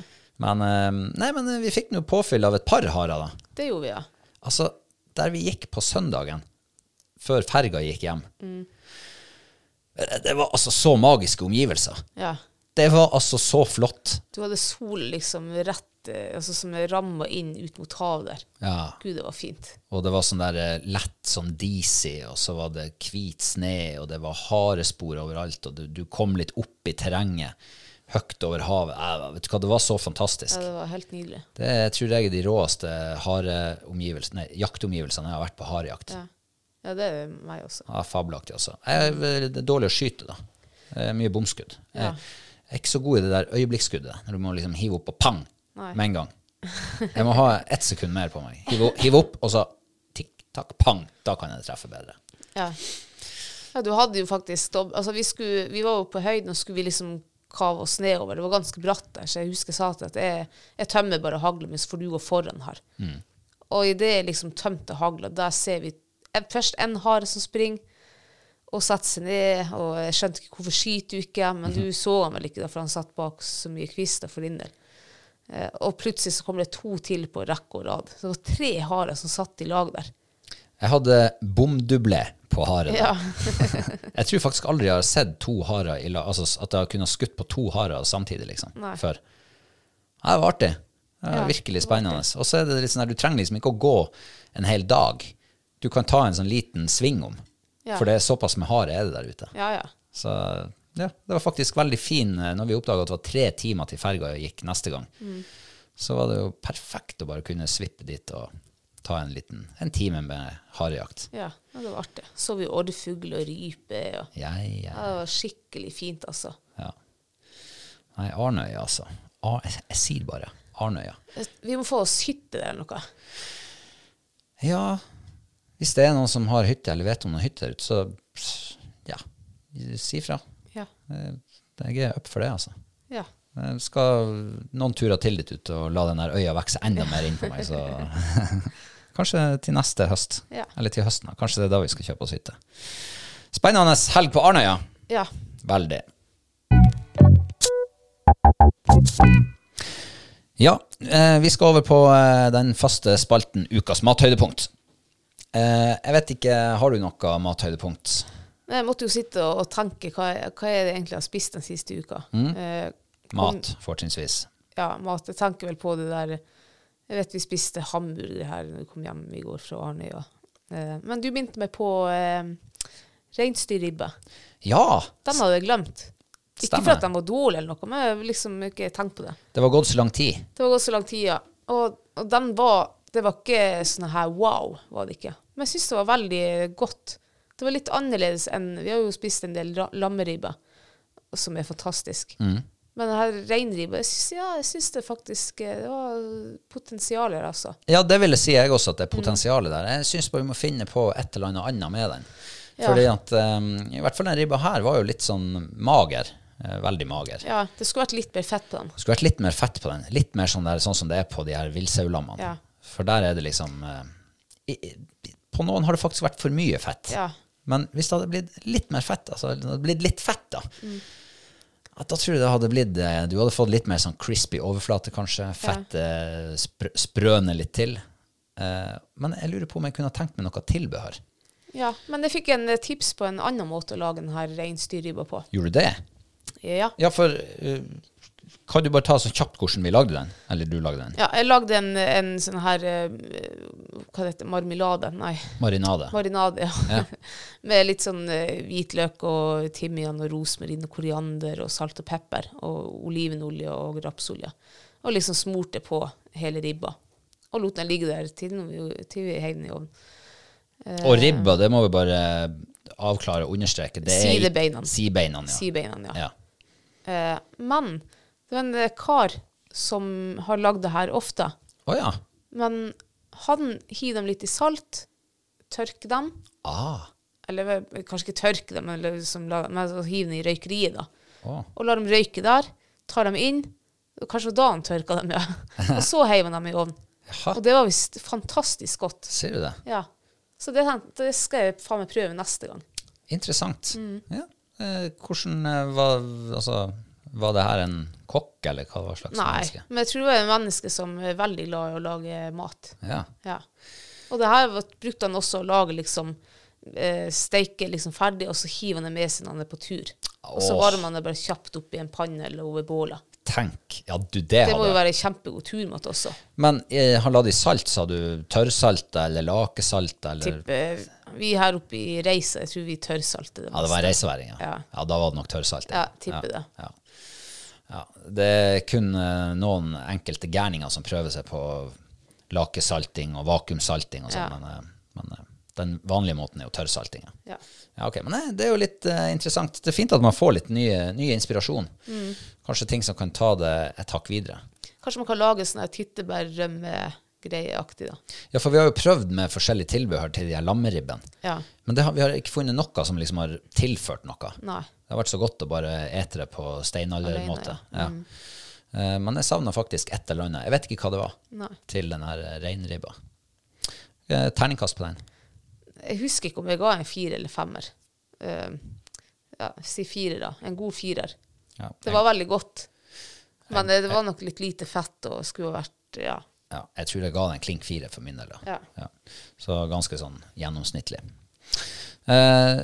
Men, eh, nei, men eh, vi fikk nå påfyll av et par harer, da. det gjorde vi, ja. Altså, der vi gikk på søndagen, før ferga gikk hjem Eh, Det var altså så magiske omgivelser. ja. Det var altså så flott. Du hadde sol liksom rett, eh, altså som ramma inn ut mot havet der. Ja. Gud, det var fint. Og det var sånn der eh, lett sånn disig, og så var det hvit sne, og det var harespor overalt, og du, du kom litt opp i terrenget, høyt over havet. Eh, vet du hva, det var så Ja, fantastisk. det var helt nydelig. Det er, tror jeg er de råeste hareomgivelsene, nei, jaktomgivelsene jeg har vært på harejakt. Ja, ja det er meg også. Ja, fabelaktig også. Jeg er vel- det er dårlig å skyte, da. Eh, Mye bomskudd. Ja. Jeg er ikke så god i det der øyeblikksskuddet, når du må liksom hive opp og pang Nei. med en gang. Jeg må ha ett sekund mer på meg. Hive, o- hive opp, og så tikk, takk, pang. Da kan jeg treffe bedre. Ja. ja, du hadde jo faktisk dob- Altså, vi, skulle, vi var jo på høyden, og skulle vi liksom kave oss nedover. Det var ganske bratt der, så jeg husker jeg sa til at jeg, jeg tømmer bare hagla mi, så får du gå foran her. Og idet jeg liksom tømte hagla, der ser vi en- først en hare som springer, og setter seg ned, og jeg skjønte ikke hvorfor skyter du ikke, men du så han vel ikke, da, for han satt bak så mye kvister for din del. Eh, og plutselig så kom det to til på rekke og rad. Så det var tre harer som satt i lag der. Jeg hadde bomdublé på haren. Ja. Jeg tror faktisk aldri jeg har sett to harer i lag, altså s- at jeg har kunnet skutt på to harer samtidig, liksom. Nei. Før. Nei, det var artig. Det var Ja, virkelig spennende. Og så er det litt sånn her, du trenger liksom ikke å gå en hel dag. Du kan ta en sånn liten sving om, Ja. for det er såpass med hare er det der ute. ja, ja. Så ja, det var faktisk veldig fin eh, når vi oppdaga at det var tre timer til ferga gikk neste gang. Mm. Så var det jo perfekt å bare kunne svippe dit og ta en liten en time med harejakt. Ja, ja, det var artig. Så vi orrfugl og rype. Og, Ja, ja, ja, det var skikkelig fint, altså. ja. Nei, Arnøya, altså. Ar jeg, jeg sier bare Arnøya. Vi må få oss hytte der eller noe. Ja, hvis det er noen som har hytte, eller vet om noen hytte der ute, så pss, ja, si fra. Ja. Eh, Jeg er up for det, altså. ja. Jeg skal noen turer til litt ut og la den der øya vokse enda mer inn på meg. Så kanskje til neste høst. Ja. Eller til høsten. da. Kanskje det er da vi skal kjøpe oss hytte. Spennende helg på Arnøya. Ja. Veldig. Ja, eh, vi skal over på eh, den faste spalten Ukas mathøydepunkt. Eh, jeg vet ikke, har du noe mathøydepunkt? Nei, Jeg måtte jo sitte og, og tenke hva, jeg- hva er det egentlig jeg har spist den siste uka. Eh, Mat, fortrinnsvis. ja, mat. Jeg tenker vel på det der Jeg vet vi spiste hamburger her når vi kom hjem i går fra Arnøya. Eh, men du minte meg på eh, reinsdyrribba. Ja! Den hadde jeg glemt. Ikke Stemmer. for at den var dårlig, eller noe, men jeg har liksom ikke tenkt på det. Det var gått så lang tid. Det var gått så lang tid, ja. Og, og den var Det var ikke sånn her wow, var det ikke. Men jeg syns det var veldig godt. Det var litt annerledes enn Vi har jo spist en del ra- lammeribbe, som er fantastisk. Men den her reinribba jeg syns- Ja, jeg syns det faktisk eh, Det var potensial her, altså. Ja, det ville si jeg også, at det er potensialet der. Jeg syns bare vi må finne på et eller annet annet med den. Ja. Fordi at eh, I hvert fall den ribba her var jo litt sånn mager. eh, veldig mager. Ja, det skulle vært litt mer fett på den. Det skulle vært litt mer fett på den. Litt mer sånn, der, sånn som det er på de her villsaulammene. Ja. For der er det liksom eh, i, i, På noen har det faktisk vært for mye fett. Ja. Men hvis det hadde blitt litt mer fett, altså det hadde blitt litt fett, da Mm. at Da tror jeg det hadde blitt eh, Du hadde fått litt mer sånn crispy overflate, kanskje. Fettet spr sprøner litt til. Eh, men jeg lurer på om jeg kunne ha tenkt meg noe tilbehør. Ja, Men jeg fikk en eh, tips på en annen måte å lage den her reinsdyrribba på. Gjorde du det? Ja. Ja, for eh, Kan du bare ta så kjapt hvordan vi lagde den? Eller du lagde den? ja jeg lagde en, en sånn her eh, Hva heter det? Marmelade? Nei. Marinade. Marinade, ja. Med litt sånn eh, hvitløk og timian og rosmarin og koriander og salt og pepper og olivenolje og rapsolje. Og liksom smurte på hele ribba. Og lot den ligge der til, den- til vi heiv den i ovnen. Og Eh. ribba, det må vi bare avklare og understreke. Det er- Sidebeinene. Sidebeina, ja. Sibeina, ja. ja. Eh, men det var en eh, kar som har lagd det her ofte. Å ja. Men han hiver dem litt i salt, tørker dem, Ah. eller eh, kanskje ikke tørke dem, men liksom, la- men så hiver dem i røykeriet da. Å. og lar dem røyke der. Tar dem inn. og Kanskje da han tørka dem, ja. Og så heiv han dem i ovnen. Jaha. Og det var visst fantastisk godt. Ser du det? Ja. Så det, det skal jeg faen meg prøve neste gang. Interessant. Mm. Ja. Eh, hvordan eh, var Altså, var det her en kokk, eller hva var slags Nei, menneske? men jeg tror jeg er en menneske som er veldig glad i å lage mat. Ja. Ja. Og det her var- brukte han også å lage liksom eh, Steike liksom ferdig, og så hiver han det med seg når han er på tur. Og så Åh. varmer han det bare kjapt opp i en panne eller over bålet. Tenk. Ja, du, det, Det må hadde jo være kjempegod turmat også. Men eh, han la det i salt, sa du? Tørrsalt eller lakesalt? Eller? Tipper eh, vi her oppe i Reisa, jeg tror vi tørrsalter det. Ja, det var en reiseværing, ja. Ja. Da var det nok tørrsalt. Ja, tipper det. Ja. Ja. Det er kun eh, noen enkelte gærninger som prøver seg på lakesalting og vakuumsalting og sånn, Ja. men, eh, men eh, den vanlige måten er jo tørrsalting. Ja. Ja. Ja, ok, Men eh, det er jo litt eh, interessant. Det er fint at man får litt ny, ny inspirasjon. Mm. Kanskje ting som kan ta det et hakk videre. Kanskje man kan lage sånn her tyttebærrømme-greieaktig, da. Ja, for vi har jo prøvd med forskjellige tilbehør til de her lammeribbene. Ja. Men det har, vi har ikke funnet noe som liksom har tilført noe. Nei. Det har vært så godt å bare ete det på steinaldermåte. Alene, Mm. Ja. Eh, Men jeg savna faktisk et eller annet. Jeg vet ikke hva det var Nei. til den her eh, reinribba. Eh, Terningkast på den. Jeg husker ikke om jeg ga en fire eller femmer. Eh, ja, si fire, da. En god firer. Ja, Det var veldig godt. Men eh, det var nok litt lite fett og skulle ha vært Ja. Ja, jeg tror jeg ga den klink fire for min del. Da. Ja. Så ganske sånn gjennomsnittlig. Eh,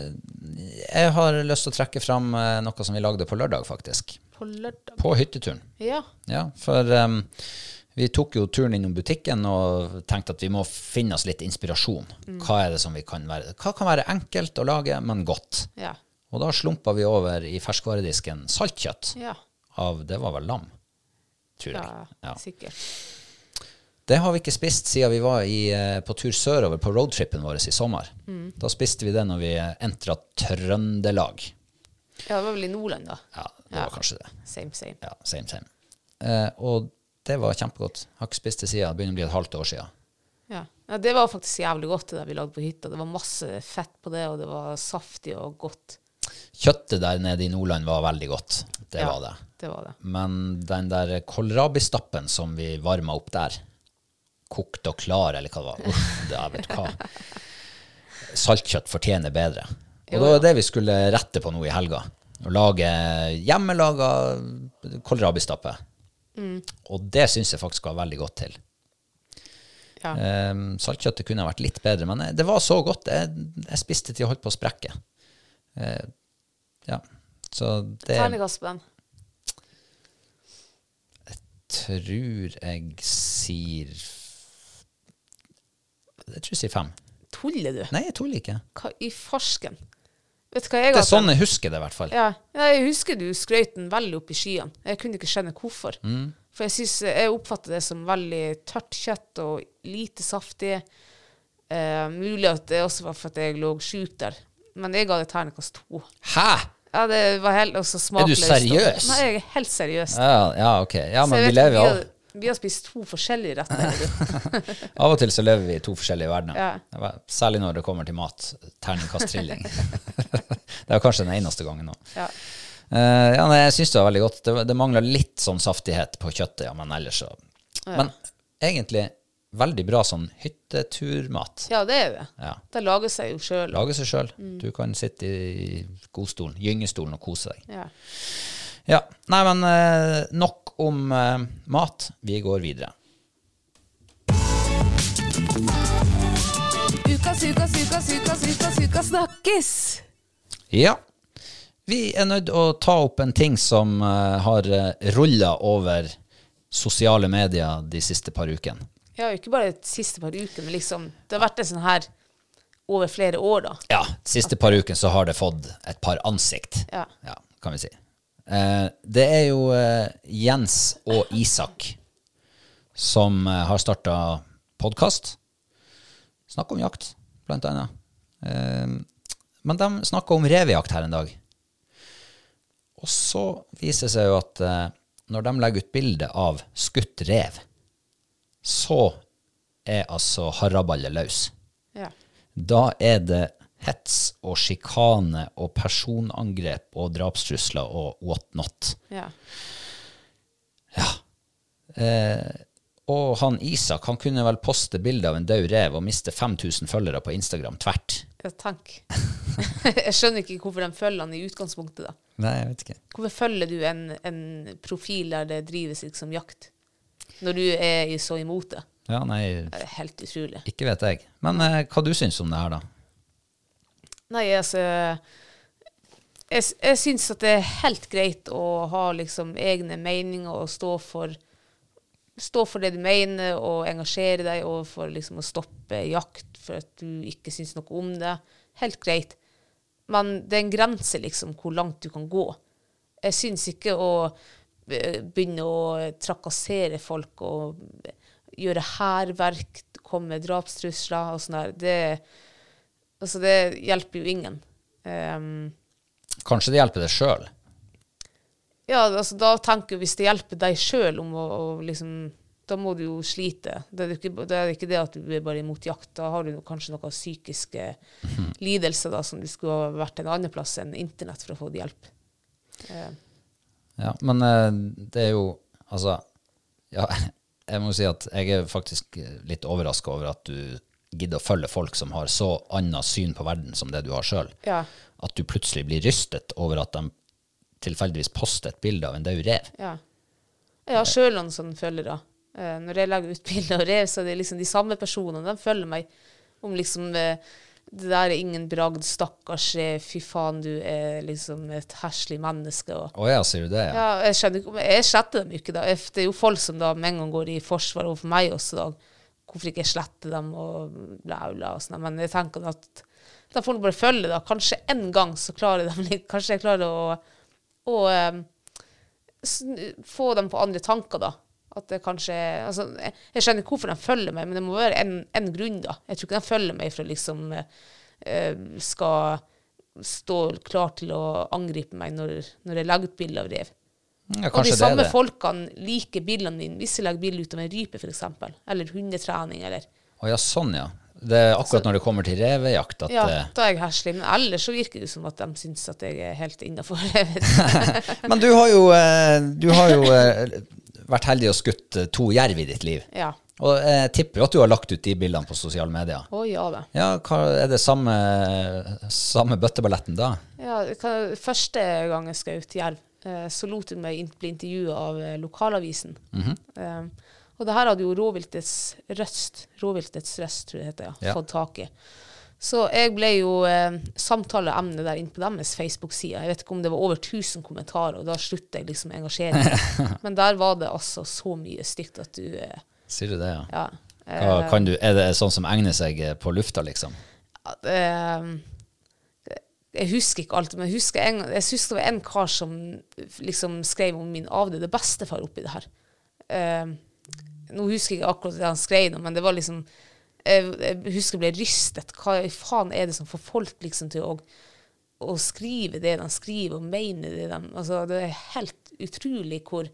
jeg har lyst til å trekke fram eh, noe som vi lagde på lørdag, faktisk. På lørdag. På hytteturen. Ja. Ja, for em, vi tok jo turen innom butikken og tenkte at vi må finne oss litt inspirasjon. Hva er det som vi kan være Hva kan være enkelt å lage, men godt? Ja. Og da slumpa vi over i ferskvaredisken saltkjøtt Ja. av Det var vel lam, tror jeg. ja. Ja. Sikkert. Det har vi ikke spist siden vi var i, eh, på tur sørover på roadtrippen vår i sommer. Da spiste vi det når vi eh, entra Trøndelag. Ja, det var vel i Nordland, da. Ja, det var kanskje det. Same, same. Ja, same, same. Eh, og det var kjempegodt. Har ikke spist det siden. Det begynner å bli et halvt år siden. Ja. ja. Det var faktisk jævlig godt, det der vi lagde på hytta. Det var masse fett på det, og det var saftig og godt. Kjøttet der nede i Nordland var veldig godt. Det Ja, var det. Det var det. Men den der kålrabistappen som vi varma opp der, kokt og klar, eller hva det var Uff, det er vet du hva. Saltkjøtt fortjener bedre. Og det Jo, ja. var det vi skulle rette på nå i helga. Å lage hjemmelaga kålrabistappe. Mm. Og det syns jeg faktisk var veldig godt til. Ja. Ehm, saltkjøttet kunne ha vært litt bedre, men eh, det var så godt. Jeg, jeg spiste til jeg holdt på å sprekke. Eh, ja. Så det Terningkast på den. tror jeg sier Jeg tror jeg sier fem. Tuller du? Nei, jeg tuller ikke. Hva i farsken? Vet du hva jeg Det har er sånn jeg husker det, i hvert fall. Ja. ja, jeg husker du skrøt den veldig opp i skyene. Jeg kunne ikke skjønne hvorfor. Mm. For jeg, synes, eh, jeg oppfatter det som veldig tørt kjøtt og lite saftig. Eh, mulig at det også var for at jeg lå sjuk der. Men jeg ga det terningkast to. Hæ?! Ja, det var helt også smakløst. seriøs? Nei, jeg er helt seriøs. Ja, ja, ok. Ja, Så men jeg vi vet lever ikke, jo vi, har, vi har spist to forskjellige retter. du. Av og til så lever vi i to forskjellige verdener. Ja. Det var- Særlig når det kommer til mat. Terningkast trilling. det var kanskje den eneste gangen nå. Ja. Eh, ja, nei, jeg syns det var veldig godt. Det, det mangla litt sånn saftighet på kjøttet, ja, men ellers så Men egentlig veldig bra sånn hytteturmat. ja, det er det. Ja. Det lager seg jo sjøl. Lage seg sjøl. Du kan sitte i godstolen, gyngestolen og kose deg. Ja. Ja, Nei, men eh, nok om eh, mat. Vi går videre. Ukas, ukas, ukas, ukas, ukas, ukas snakkes! Ja. Vi er nødt å ta opp en ting som eh, har rulla over sosiale medier de siste par ukene. Ja, ikke bare de siste par ukene, men liksom Det har vært en sånn her over flere år, da. Ja, de siste par ukene så har det fått et par ansikt, Ja. kan vi si. Eh, det er jo eh, Jens og Isak som eh, har starta podkast. Snakk om jakt, blant annet. Eh, men de snakka om revejakt her en dag. Og så viser det seg jo at eh, når de legger ut bilde av skutt rev, så er altså haraballet løs Ja. da er det hets og sjikane og personangrep og drapstrusler og what not. ja. Eh, Og han Isak han kunne vel poste bilde av en død rev og miste 5000 følgere på Instagram tvert. ja tenk. jeg skjønner ikke hvorfor de følger han i utgangspunktet, da. Nei, jeg vet ikke. Hvorfor følger du en, en profil der det drives liksom jakt, når du er i- så imot det? Ja, nei, Det er helt utrolig. ikke vet jeg. Men eh, hva du syns om det her, da? Nei, altså Jeg, jeg syns at det er helt greit å ha liksom egne meninger og stå for Stå for det du mener, og engasjere deg og for liksom å stoppe jakt for at du ikke syns noe om det. Helt greit. Men det er en grense, liksom, hvor langt du kan gå. Jeg syns ikke å be- begynne å trakassere folk og gjøre hærverk, komme med drapstrusler og sånn der. Det, Altså, det hjelper jo ingen. Ehm, Kanskje det hjelper deg sjøl? ja, altså, da tenker jeg hvis det hjelper deg sjøl om å, å liksom Da må du jo slite. Det er jo ikke, det er jo ikke det at du er bare imot jakt. Da har du jo kanskje noen psykiske lidelser da, som du skulle ha vært en annen plass enn internett for å få hjelp. Ehm, Ja, men eh, det er jo Altså, ja, jeg må si at jeg er faktisk eh, litt overraska over at du gidder å følge folk som har så annet syn på verden som det du har sjøl. Ja. At du plutselig blir rystet over at de tilfeldigvis poster et bilde av en død rev. ja. Jeg har sjøl noen sånne følgere. Eh, når jeg legger ut bilder av rev, så er det liksom de samme personene. De følger meg om liksom eh, Det der er ingen bragd, stakkars rev, fy faen, du er liksom et heslig menneske. Og, Å ja, sier du det? Ja. ja, jeg, skjønner ikke, jeg sletter dem jo ikke, da. Jeg- Det er jo folk som da med en gang går i forsvar overfor meg også, da. Hvorfor ikke jeg sletter dem og bla, bla og sånn. Men jeg tenker at da får de bare følge, da. Kanskje en gang så klarer de litt Kanskje jeg klarer å, å eh, sn- få dem på andre tanker, da. At det kanskje Altså, jeg, jeg skjønner ikke hvorfor de følger meg, men det må være en, en grunn, da. Jeg tror ikke de følger meg for å liksom eh, eh, skal stå klar til å angripe meg når, når jeg legger ut bilde av rev. Ja, Og de kanskje det er samme det. folkene liker bildene mine hvis jeg legger bilde ut av en rype, f.eks., eller hundetrening, eller Å ja, sånn, ja. Det er akkurat når det kommer til revejakt at Ja, eh, da er jeg heslig. Men ellers så virker det som at de syns at jeg er helt innafor. Men du har jo, eh, du har jo eh, vært heldig og skutt eh, to jerv i ditt liv. ja. Og eh, jeg tipper jo at du har lagt ut de bildene på sosiale medier. Å ja da. Ja, hva, er det samme, samme bøtteballetten da? Ja, hva- første gang jeg skjøt jerv, eh, så lot jeg meg int- bli intervjua av eh, lokalavisen. Eh, og det her hadde jo Rovviltets Røst, Rovviltets Røst tror jeg det heter, ja, Ja. fått tak i. Så jeg ble jo eh, samtaleemne der inne på deres Facebook-side. Jeg vet ikke om det var over 1000 kommentarer, og da sluttet jeg liksom å engasjere meg. Men der var det altså så mye stygt at du eh, Sier du det, ja? Ja. Hva, Eh. kan du, er det sånn som egner seg eh, på lufta, liksom? at, eh, jeg husker ikke alt, men jeg husker, en, jeg husker det var en kar som liksom skrev om min avdøde bestefar oppi det her. Eh, nå husker jeg ikke akkurat det han skrev, nå, men det var liksom jeg, jeg husker jeg ble rystet. Hva i faen er det som får folk liksom til å, å skrive det de skriver, og mene det de altså, Det er helt utrolig hvor,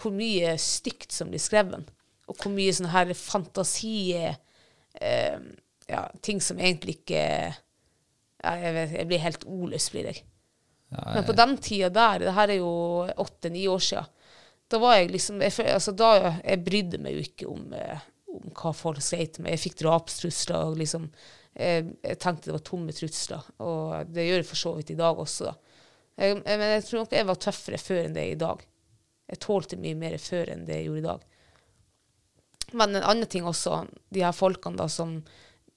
hvor mye stygt som blir skrevet, og hvor mye sånne her fantasi eh, ja, Ting som egentlig ikke ja, jeg, vet, jeg blir helt ordløs, blir jeg. Men på den tida der, det her er jo åtte-ni år sia, da var jeg liksom jeg, føl- altså, da, jeg brydde meg jo ikke om, eh, om hva folk skrev til meg. Jeg fikk drapstrusler og liksom jeg, jeg tenkte det var tomme trusler. Og det gjør jeg for så vidt i dag også, da. Jeg, jeg, men jeg tror nok jeg var tøffere før enn det er i dag. Jeg tålte mye mer før enn det jeg gjorde i dag. Men en annen ting også, de her folkene da som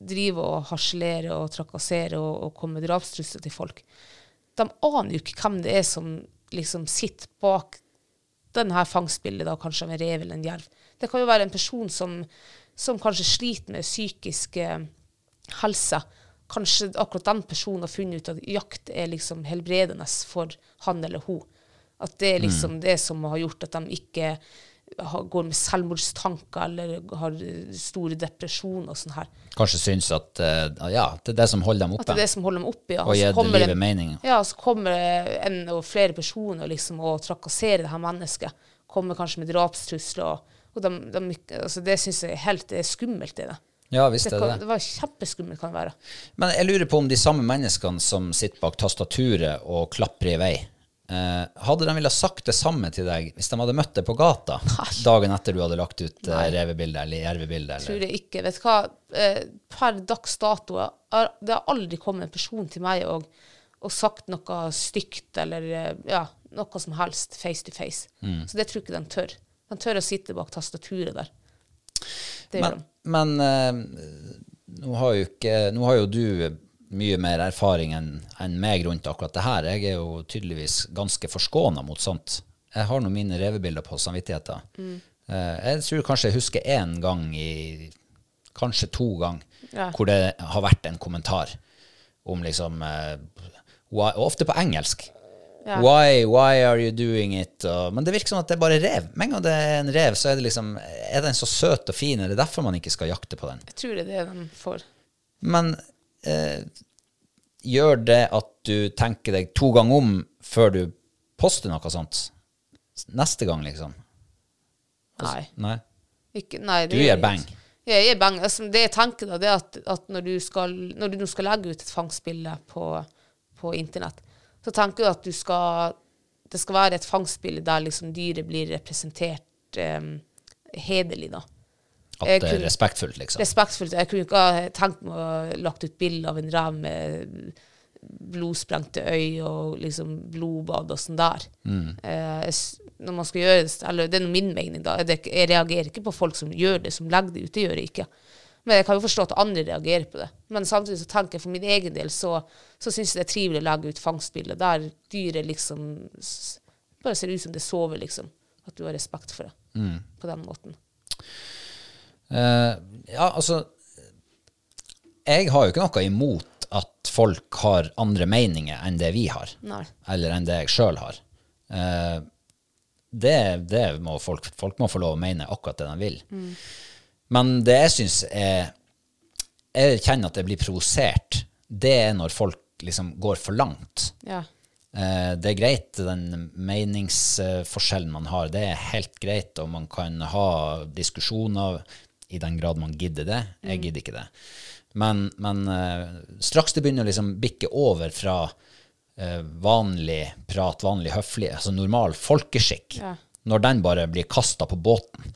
driver og harselerer og trakasserer og, og kommer med drapstrusler til folk, de aner jo ikke hvem det er som liksom sitter bak den her fangstbildet, da, kanskje av en rev eller en jerv. Det kan jo være en person som, som kanskje sliter med psykisk eh, helse. Kanskje akkurat den personen har funnet ut at jakt er liksom helbredende for han eller hun. At det er liksom det som har gjort at de ikke har, går med selvmordstanker eller har eh, store depresjoner og sånn her. Kanskje syns at eh, ja, det er det som holder dem At det oppe? er det som holder dem oppe. Ja. Og gir Så det kommer livet mening. Ja, så kommer det en og flere personer liksom og trakasserer det her mennesket. Kommer kanskje med drapstrusler. og- Og de, de, altså det syns jeg er helt det er skummelt. Det, det, Ja, visst er kan, det det. det var kjempeskummelt, kan det være. Men jeg lurer på om de samme menneskene som sitter bak tastaturet og klapper i vei, eh, hadde de villet sagt det samme til deg hvis de hadde møtt deg på gata dagen etter du hadde lagt ut eh, revebildet eller jervebildet? Eller? Tror jeg ikke. Vet du hva, Eh, per dags dato er, det har aldri kommet en person til meg og, og sagt noe stygt eller eh, ja, noe som helst face to face. Mm. Så det tror jeg ikke de tør. De tør å sitte bak tastaturet der. Det gjør Men, de. men eh, nå, har jo ikke, nå har jo du mye mer erfaring enn enn meg rundt akkurat det her. Jeg er jo tydeligvis ganske forskåna mot sånt. Jeg har nå mine revebilder på samvittigheten. Eh, jeg tror kanskje jeg husker én gang i Kanskje to ganger Ja. hvor det har vært en kommentar om liksom eh, why, og Ofte på engelsk. Ja. Why, why are you doing it? Og, men det virker som at det er bare rev. Med en gang det er en rev, så er det liksom Er den så søt og fin? Er det derfor man ikke skal jakte på den? Jeg tror det er det de får. Men eh, gjør det at du tenker deg to ganger om før du poster noe sånt? Neste gang, liksom? Nei. Nei? Ikke, nei Altså, Du det- gir bang. Ja, jeg gir bang. Altså, det jeg tenker, da, det er at, at når, du skal, når du nå skal legge ut et fangstbilde på, på internett, så tenker jeg at du skal, det skal være et fangstbilde der liksom dyret blir representert eh, hederlig. da. At Jeg det er kunne- respektfullt, liksom? Respektfullt. Jeg kunne ikke ha tenkt meg å ha lagt ut bilde av en rev med blodsprengte øy og liksom blodbad og sånn der. Eh, jeg s- når man skal gjøre det, s- eller det er nå min mening, da. Jeg, det er ikke- jeg reagerer ikke på folk som gjør det, som legger det ut. Det gjør jeg ikke. Men jeg kan jo forstå at andre reagerer på det. Men samtidig så tenker jeg for min egen del så, så syns jeg det er trivelig å legge ut fangstbilder der dyret liksom s- bare ser ut som det sover, liksom. At du har respekt for det på den måten. Eh, ja, altså Jeg har jo ikke noe imot at folk har andre meninger enn det vi har, Nei. eller enn det jeg sjøl har. Eh, det det må folk, folk må få lov å mene akkurat det de vil. Men det jeg syns er Jeg kjenner at jeg blir provosert, det er når folk liksom går for langt. Ja. Eh, Det er greit, den meningsforskjellen man har, det er helt greit, og man kan ha diskusjoner i den grad man gidder det. Jeg gidder ikke det. Men, men eh, straks det begynner å liksom bikke over fra eh, vanlig prat, vanlig høflig, altså normal folkeskikk, Ja. når den bare blir kasta på båten,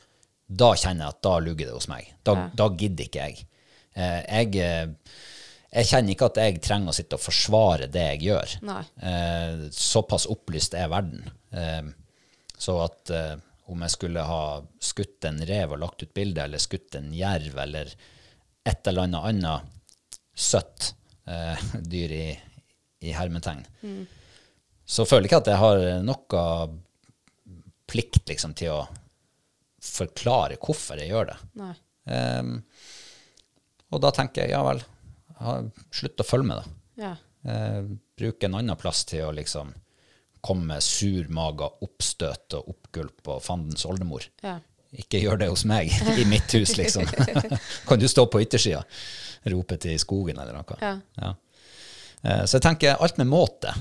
da kjenner jeg at da lugger det hos meg. Da, da gidder ikke jeg. Eh, jeg, eh, jeg kjenner ikke at jeg trenger å sitte og forsvare det jeg gjør. Nei. Eh, såpass opplyst er verden. Eh, så at eh, om jeg skulle ha skutt en rev og lagt ut bilde, eller skutt en jerv, eller et eller annet annet søtt eh, dyr i, i hermetegn, Mm. så føler jeg ikke at jeg har noe plikt liksom, til å forklare hvorfor jeg gjør det. Nei. Eh, og da tenker jeg ja vel, ha- slutt å følge med, da. Ja. Eh, bruke en annen plass til å liksom komme med surmaga oppstøt og oppgulp og fandens oldemor. Ja. Ikke gjør det hos meg, i mitt hus, liksom. kan du stå på yttersida? Rope til skogen eller noe. Ja. Eh, Så jeg tenker alt med måte.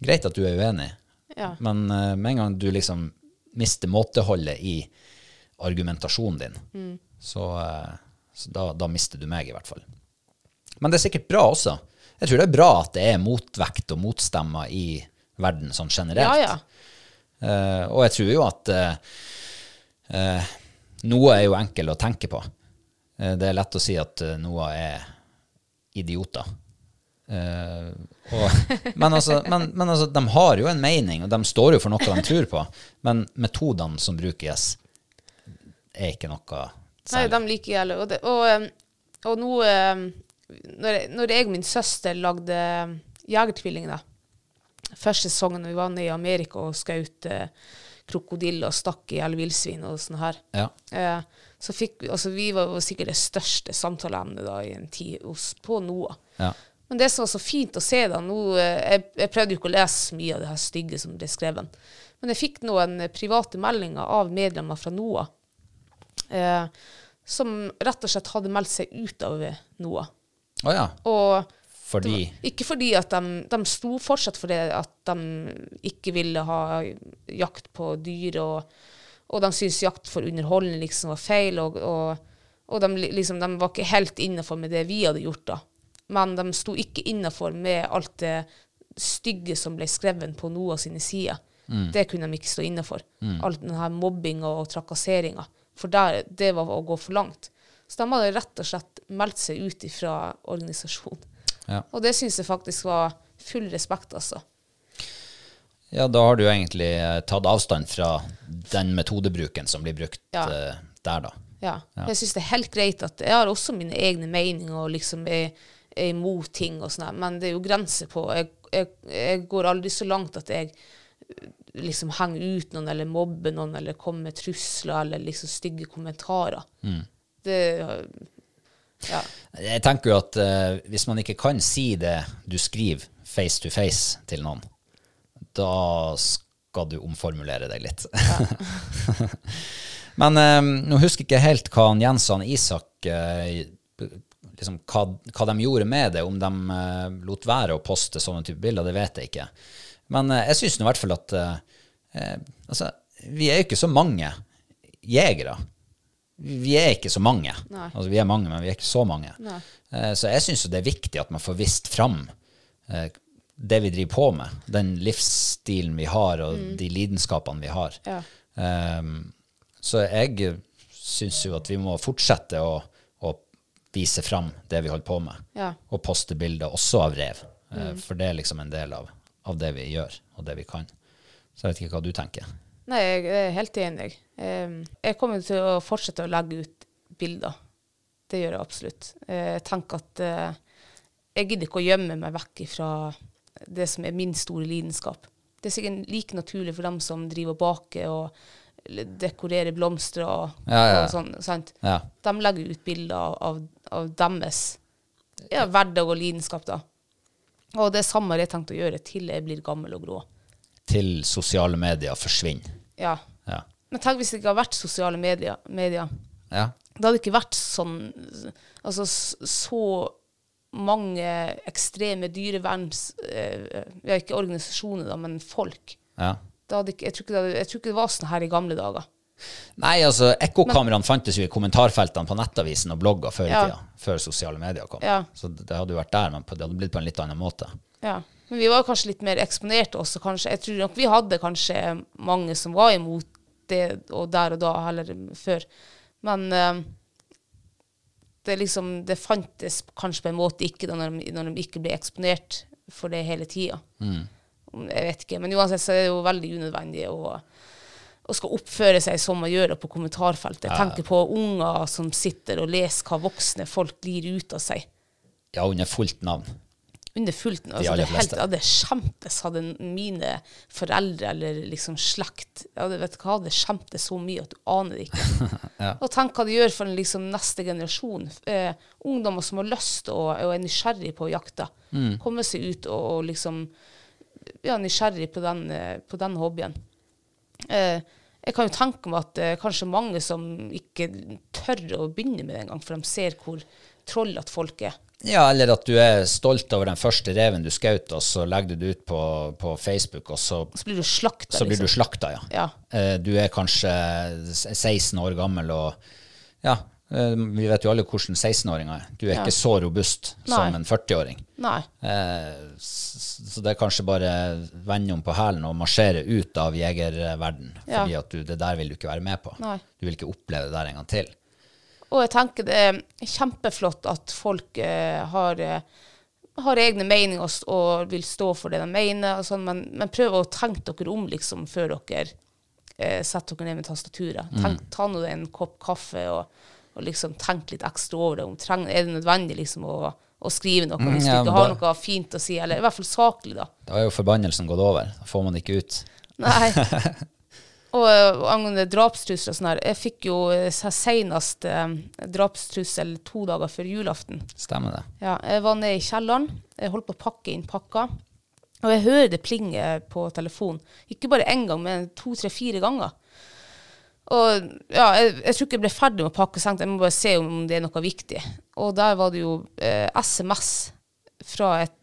Greit at du er uenig, Ja. men eh, med en gang du liksom mister måteholdet i argumentasjonen din, Mm. så, eh, så da, da mister du meg, i hvert fall. Men det er sikkert bra også. Jeg tror det er bra at det er motvekt og motstemmer i verden sånn generelt. Ja, ja. Eh, og jeg tror jo at eh, eh, noe er jo enkel å tenke på. Eh, det er lett å si at eh, noe er idioter. Eh, og, men, altså, men, men altså, de har jo en mening, og de står jo for noe de tror på. Men metodene som brukes, er ikke noe Nei, særlig. de liker jeg. Og, det, og, um, og nå um, når, jeg- når jeg og min søster lagde um, Jegertvillingene, første sesongen når vi var nede i Amerika og skjøt eh, krokodiller og stakk i alle villsvin og sånn her, Ja. eh, så fikk vi Altså, vi var jo sikkert det største samtaleemnet da i en tid hos, på NOA. Ja. Men det som var så fint å se da, nå, eh, jeg, jeg prøvde jo ikke å lese så mye av det her stygge som ble skrevet, men jeg fikk noen eh, private meldinger av medlemmer fra NOA eh, som rett og slett hadde meldt seg ut av eh, NOA. Å ja. Og Fordi ikke fordi at de, de sto fortsatt for det at de ikke ville ha jakt på dyr, og, og de syntes jakt for underholdning liksom var feil, og, og, og de, li- liksom, de var ikke helt innafor med det vi hadde gjort da. Men de sto ikke innafor med alt det stygge som ble skrevet på Noah sine sider. Det kunne de ikke stå innafor. All denne mobbinga og trakasseringa. For der, det var å gå for langt. Så de hadde rett og slett meldt seg ut ifra organisasjonen. ja. Og det syns jeg faktisk var full respekt, altså. ja, da har du jo egentlig eh, tatt avstand fra den metodebruken som blir brukt Ja. eh, der, da. Ja. Jeg syns det er helt greit at jeg har også mine egne meninger og liksom er, er imot ting og sånn, her, men det er jo grenser på jeg, jeg, jeg går aldri så langt at jeg eh, liksom henger ut noen eller mobber noen eller kommer med trusler eller liksom stygge kommentarer. Det Ja. Jeg tenker jo at eh, hvis man ikke kan si det du skriver face to face til noen, da skal du omformulere deg litt. Men eh, nå husker jeg ikke helt hva han Jens og han Isak eh, liksom, hva, hva de gjorde med det, om de eh, lot være å poste sånne type bilder, det vet jeg ikke. Men eh, jeg syns i hvert fall at eh, eh, altså, vi er jo ikke så mange jegere. Vi er ikke så mange. Altså, vi er mange, men vi er ikke så mange. Eh, så jeg syns det er viktig at man får vist fram eh, det vi driver på med, den livsstilen vi har, og de lidenskapene vi har. Ja. Ehm, så jeg syns jo at vi må fortsette å, å vise fram det vi holder på med, Ja. Mm. og poste bilder også av rev. Eh, For det er liksom en del av, av det vi gjør, og det vi kan. Så jeg vet ikke hva du tenker. Nei, jeg er helt enig. Em, Jeg kommer til å fortsette å legge ut bilder. Det gjør jeg absolutt. Eh, Jeg tenker at eh, jeg gidder ikke å gjemme meg vekk fra det som er min store lidenskap. Det er sikkert like naturlig for dem som driver og baker og l- dekorerer blomster og, Ja, ja, ja. og sånn. sant? Ja. De legger ut bilder av, av, av deres ja, hverdag og lidenskap, da. Og det samme har jeg tenkt å gjøre til jeg blir gammel og grå. Til sosiale medier forsvinner. Ja. Ja. Men tenk hvis det ikke hadde vært sosiale medier. medier. ja. Det hadde ikke vært sånn Altså s- så mange ekstreme dyreverns... Eh, ja, ikke organisasjoner, da, men folk. ja. Det hadde ikke, jeg, tror ikke det hadde, jeg tror ikke det var sånn her i gamle dager. Nei, altså, ekkokameraene fantes jo i kommentarfeltene på nettavisen og blogger før i Ja. tida. Før sosiale medier kom. Ja. Så det det hadde jo vært der, men på- det hadde blitt på en litt annen måte. Ja. Men vi var kanskje litt mer eksponerte også, kanskje. Jeg tror nok vi hadde kanskje mange som var imot det og der og da, heller før. Men eh, det liksom Det fantes kanskje på en måte ikke da når de, når de ikke ble eksponert for det hele tida. Jeg vet ikke. Men uansett så er det jo veldig unødvendig å, å skal oppføre seg som man gjør det på kommentarfeltet. Jeg tenker på unger som sitter og leser hva voksne folk glir ut av seg Ja, under fullt navn. under fullt nå. aller Altså, det er helt, fleste. jeg hadde skjemtes, hadde mine foreldre eller liksom slekt jeg hadde, vet du hva, hadde skjemtes så mye at du aner det ikke. Og tenk hva det gjør for den liksom, neste generasjon. Eh, ungdommer som har lyst og, og er nysgjerrig på jakta. Mm. Komme seg ut og, og liksom ja, nysgjerrig på den, eh, på den hobbyen. Eh, jeg kan jo tenke meg at eh, kanskje mange som ikke tør å begynne med det engang, for de ser hvor trollete folk er. Ja, eller at du er stolt over den første reven du skjøt, og så legger du det ut på, på Facebook, og så, Så blir du slakta. så blir du slakta, ja. Ja. Eh, Du er kanskje s- 16 år gammel, og ja, eh, vi vet jo alle hvordan 16-åringer er. Du er ikke så robust Nei. som en 40-åring. Nei. Eh, s- Så det er kanskje bare vende om på hælen og marsjere ut av jegerverden. Ja. Fordi at du, det der vil du ikke være med på. Nei. Du vil ikke oppleve det der en gang til. Og jeg tenker det er kjempeflott at folk eh, har, eh, har egne meninger og, s- og vil stå for det de mener, og sånn, men, men prøv å tenke dere om liksom, før dere eh, setter dere ned med tastaturet. Mm. Tenk, ta nå en kopp kaffe og, og liksom tenk litt ekstra over det. Om treng, er det nødvendig liksom, å, å skrive noe hvis Mm, ja, du men ikke har da- noe fint å si, eller i hvert fall saklig, da. Da er jo forbannelsen gått over. Da får man det ikke ut. Nei. Og eh, angående drapstrusler og sånn her, jeg fikk jo eh, se- senest eh, drapstrussel to dager før julaften. Stemmer det? Ja, jeg var nede i kjelleren, jeg holdt på å pakke inn pakka, og jeg hører det plinge på telefonen. Ikke bare én gang, men to, tre, fire ganger. Og ja, jeg, jeg tror ikke jeg ble ferdig med å pakke, så tenkte jeg, jeg må bare se om det er noe viktig. Og der var det jo eh, SMS fra et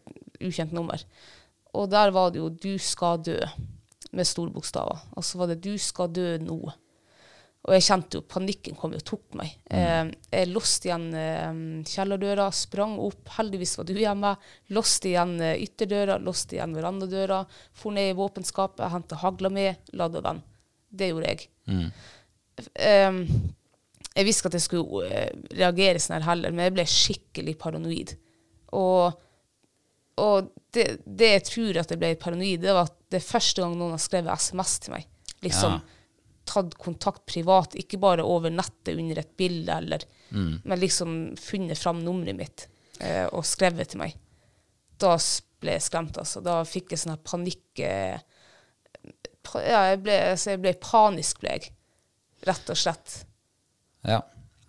ukjent nummer. Og der var det jo 'du skal dø' med store bokstaver. Og så var det 'du skal dø nå'. Og jeg kjente jo panikken kom jo og tok meg. Eh, jeg låste igjen eh, kjellerdøra, sprang opp. Heldigvis var du hjemme. Låste igjen eh, ytterdøra, låste igjen verandadøra. For ned i våpenskapet, henta hagla med, ladde den. Det gjorde jeg. Eh, jeg visste ikke at jeg skulle eh, reagere sånn her heller, men jeg ble skikkelig paranoid. Og, og det, det jeg tror at jeg ble paranoid, det var at det er første gang noen har skrevet SMS til meg. Liksom Ja. tatt kontakt privat, ikke bare over nettet under et bilde, eller, men liksom funnet fram nummeret mitt eh, og skrevet til meg. Da s- ble jeg skremt, altså. Da fikk jeg sånn her panikk... Eh, pa, ja, jeg ble, altså, jeg ble panisk, ble jeg. Rett og slett. Ja.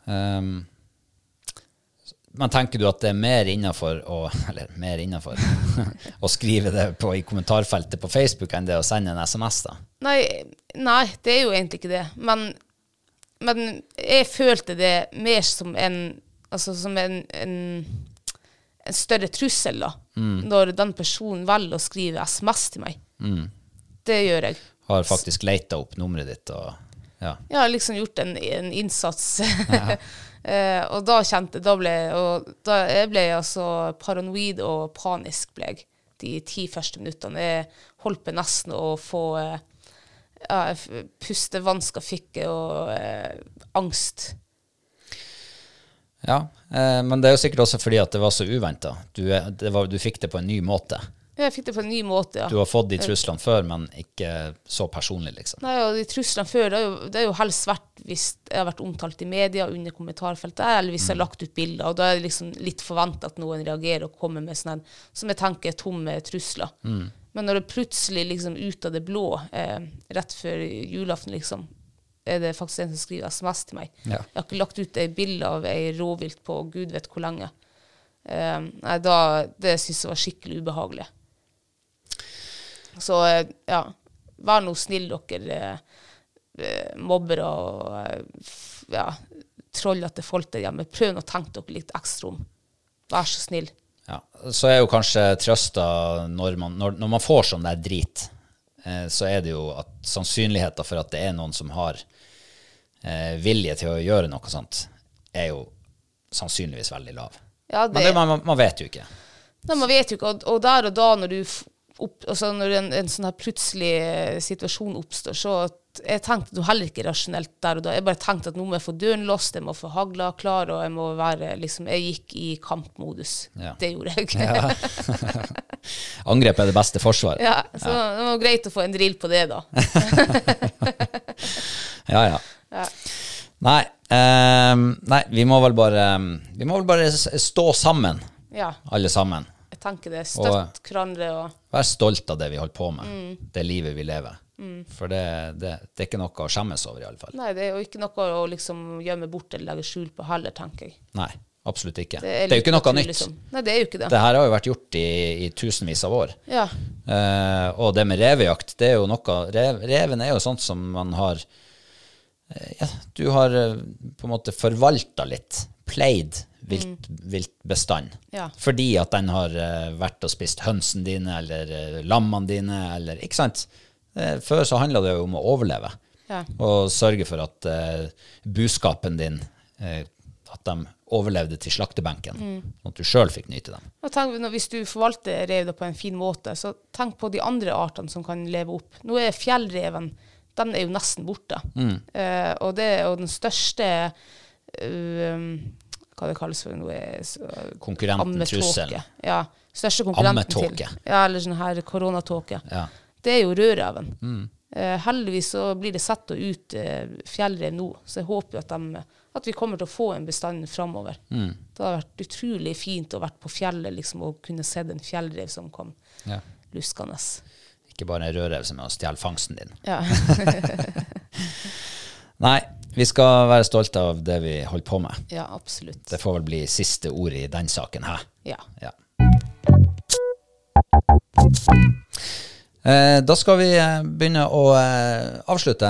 Ehm, men tenker du at det er mer innafor å Eller mer innenfor, å skrive det på, i kommentarfeltet på Facebook enn det å sende en SMS, da? Nei, nei, det er jo egentlig ikke det. Men, men jeg følte det mer som en Altså som en, en, en større trussel, da. Når den personen velger å skrive SMS til meg. Det gjør jeg. Har faktisk leita opp nummeret ditt og Ja. Jeg har liksom gjort en, en innsats. Eh, og da kjente da ble, jeg- og da, jeg ble altså paranoid og panisk ble jeg de ti første minuttene. Jeg holdt på nesten å få eh, ja, jeg f- pustevansker fikk jeg, og eh, angst. Ja, eh, men det er jo sikkert også fordi at det var så uventa. Du, er- det var- du fikk det på en ny måte. Jeg fikk det på en ny måte, ja. Du har fått de truslene før, men ikke så personlig, liksom. Nei, og de truslene før, det har jo, det har jo helst vært hvis jeg har vært omtalt i media under kommentarfeltet, eller hvis jeg har lagt ut bilder, og da er det liksom litt forventet at noen reagerer og kommer med sånne, som jeg tenker, er tomme trusler. Men når det plutselig liksom ut av det blå, eh, rett før julaften liksom, er det faktisk en som skriver sms til meg. Ja. Jeg har ikke lagt ut et bilde av ei rovvilt på gud vet hvor lenge. Eh, nei, da, det synes jeg var skikkelig ubehagelig. Så eh, ja, vær nå snill dere eh, eh, mobbere og eh, f- ja, trollete folk der hjemme. Prøv nå å tenke dere litt ekstra om. Vær så snill. Ja. Så er jo kanskje trøsta når man, når, når man får sånn der drit, eh, så er det jo at sannsynligheten for at det er noen som har eh, vilje til å gjøre noe sånt, er jo sannsynligvis veldig lav. Ja, Men det, man, man vet jo ikke. Nei, man vet jo ikke, og, og der og da når du f- opp, altså når en, en sånn her plutselig eh, situasjon oppstår, så at jeg tenkte jo heller ikke rasjonelt der og da. Jeg bare tenkte at nå må jeg få døren låst, jeg må få hagla klar, og jeg må være liksom Jeg gikk i kampmodus. Ja. Det gjorde jeg. Angrep er det beste forsvar. ja, så det var greit å få en drill på det, da. Ja, ja. Nei, ehm, nei, vi må vel bare ehm, Vi må vel bare s- stå sammen, Ja, alle sammen. jeg tenker det. eh, Støtt hverandre og Vær stolt av det vi holder på med, det livet vi lever. For det, det, det er ikke noe å skjemmes over, i alle fall. Nei, det er jo ikke noe å liksom gjemme bort eller legge skjul på heller, tenker jeg. Nei, absolutt ikke. Det er, jo ikke litt noe naturlig nytt. som- Nei, det er jo ikke det. Det her har jo vært gjort i, i tusenvis av år. Ja. Eh, og det med revejakt, det er jo noe rev, Reven er jo sånt som man har eh, ja, Du har eh, på en måte forvalta litt, pleid vilt, viltbestand. Mm. Ja. Fordi at den har eh, vært og spist hønsene dine eller eh, lammene dine eller Ikke sant? Eh, før så handla det jo om å overleve Ja. og sørge for at eh, buskapen din eh, At de overlevde til slaktebenken, Mm. sånn at du sjøl fikk nyte dem. Og tenk, når- hvis du forvalter rev da på en fin måte, så tenk på de andre artene som kan leve opp. Nå er fjellreven den er jo nesten borte. Mm. Eh, og det er jo den største eh, Hva det kalles for noe Konkurrenten, trusselen. Ja. Største konkurrenten til. Ammetåke. Ja, eller sånn her koronatåke. Ja. Mm. Det er jo rødreven. Eh, heldigvis så blir det satt ut eh, fjellrev nå, så jeg håper jo at, dem- at vi kommer til å få en bestand framover. Mm. Det har vært utrolig fint å vært på fjellet liksom, og kunne sett en fjellrev som kom Ja. luskende. Ikke bare en rødrev som er å stjele fangsten din. Ja. Nei, vi skal være stolte av det vi holder på med. ja, absolutt. Det får vel bli siste ord i den saken her. Ja. Ja. Eh, da skal vi eh, begynne å eh, avslutte.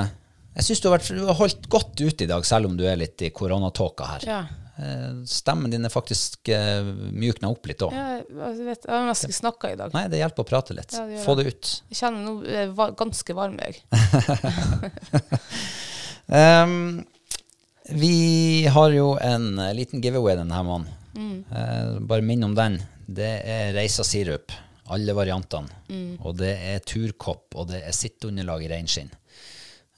Jeg syns du, har vært- du har holdt godt ut i dag, selv om du er litt i koronatåka her. Ja. Eh, stemmen din er faktisk eh, mjukna opp litt òg. Ja, jeg vet, jeg har nesten ikke snakka i dag. Nei, det hjelper å prate litt. Ja, det gjør Få det ut. Jeg kjenner nå er jeg var- ganske varm, jeg. Ehm, vi har jo en eh, liten giveaway denne måneden. Eh, bare minn om den. Det er reisa sirup, alle variantene. Og det er turkopp, og det er sitteunderlag i reinskinn.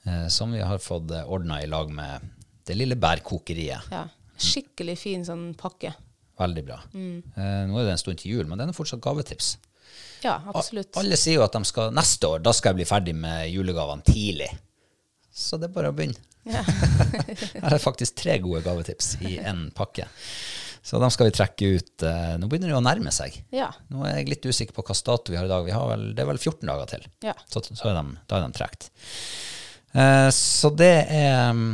eh, som vi har fått ordna i lag med det lille bærkokeriet. Ja. Skikkelig fin sånn pakke. Veldig bra. Eh, nå er det en stund til jul, men det er nå fortsatt gavetips. Ja, A- absolutt. Alle sier jo at de skal neste år, da skal jeg bli ferdig med julegavene tidlig. Så det er bare å begynne. Her er faktisk tre gode gavetips i én pakke. Så dem skal vi trekke ut. eh, Nå begynner det jo å nærme seg. Ja. Nå er jeg litt usikker på hva dato vi har i dag. Vi har vel, det er vel 14 dager til. Ja. Så, så er de, da er de trukket. Eh, så det er mm,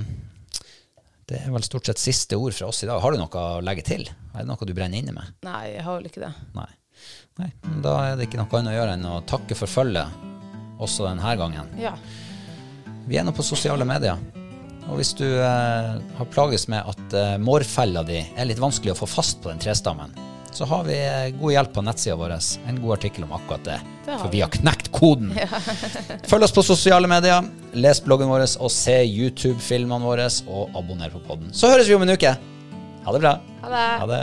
Det er vel stort sett siste ord fra oss i dag. Har du noe å legge til? Er det noe du brenner inne med? Nei, jeg har vel ikke det. Nei. Nei. men Da er det ikke noe annet å gjøre enn å takke for følget, også denne gangen. Ja. Vi er nå på sosiale medier. Og hvis du eh, har plages med at eh, mårfella di er litt vanskelig å få fast på den trestammen, så har vi eh, god hjelp på nettsida vår. En god artikkel om akkurat det. Det har for vi. vi har knekt koden! Følg oss på sosiale medier, les bloggen vår og se YouTube-filmene våre, og abonner på podden. Så høres vi om en uke! Ha det bra. Ha det. Ha det.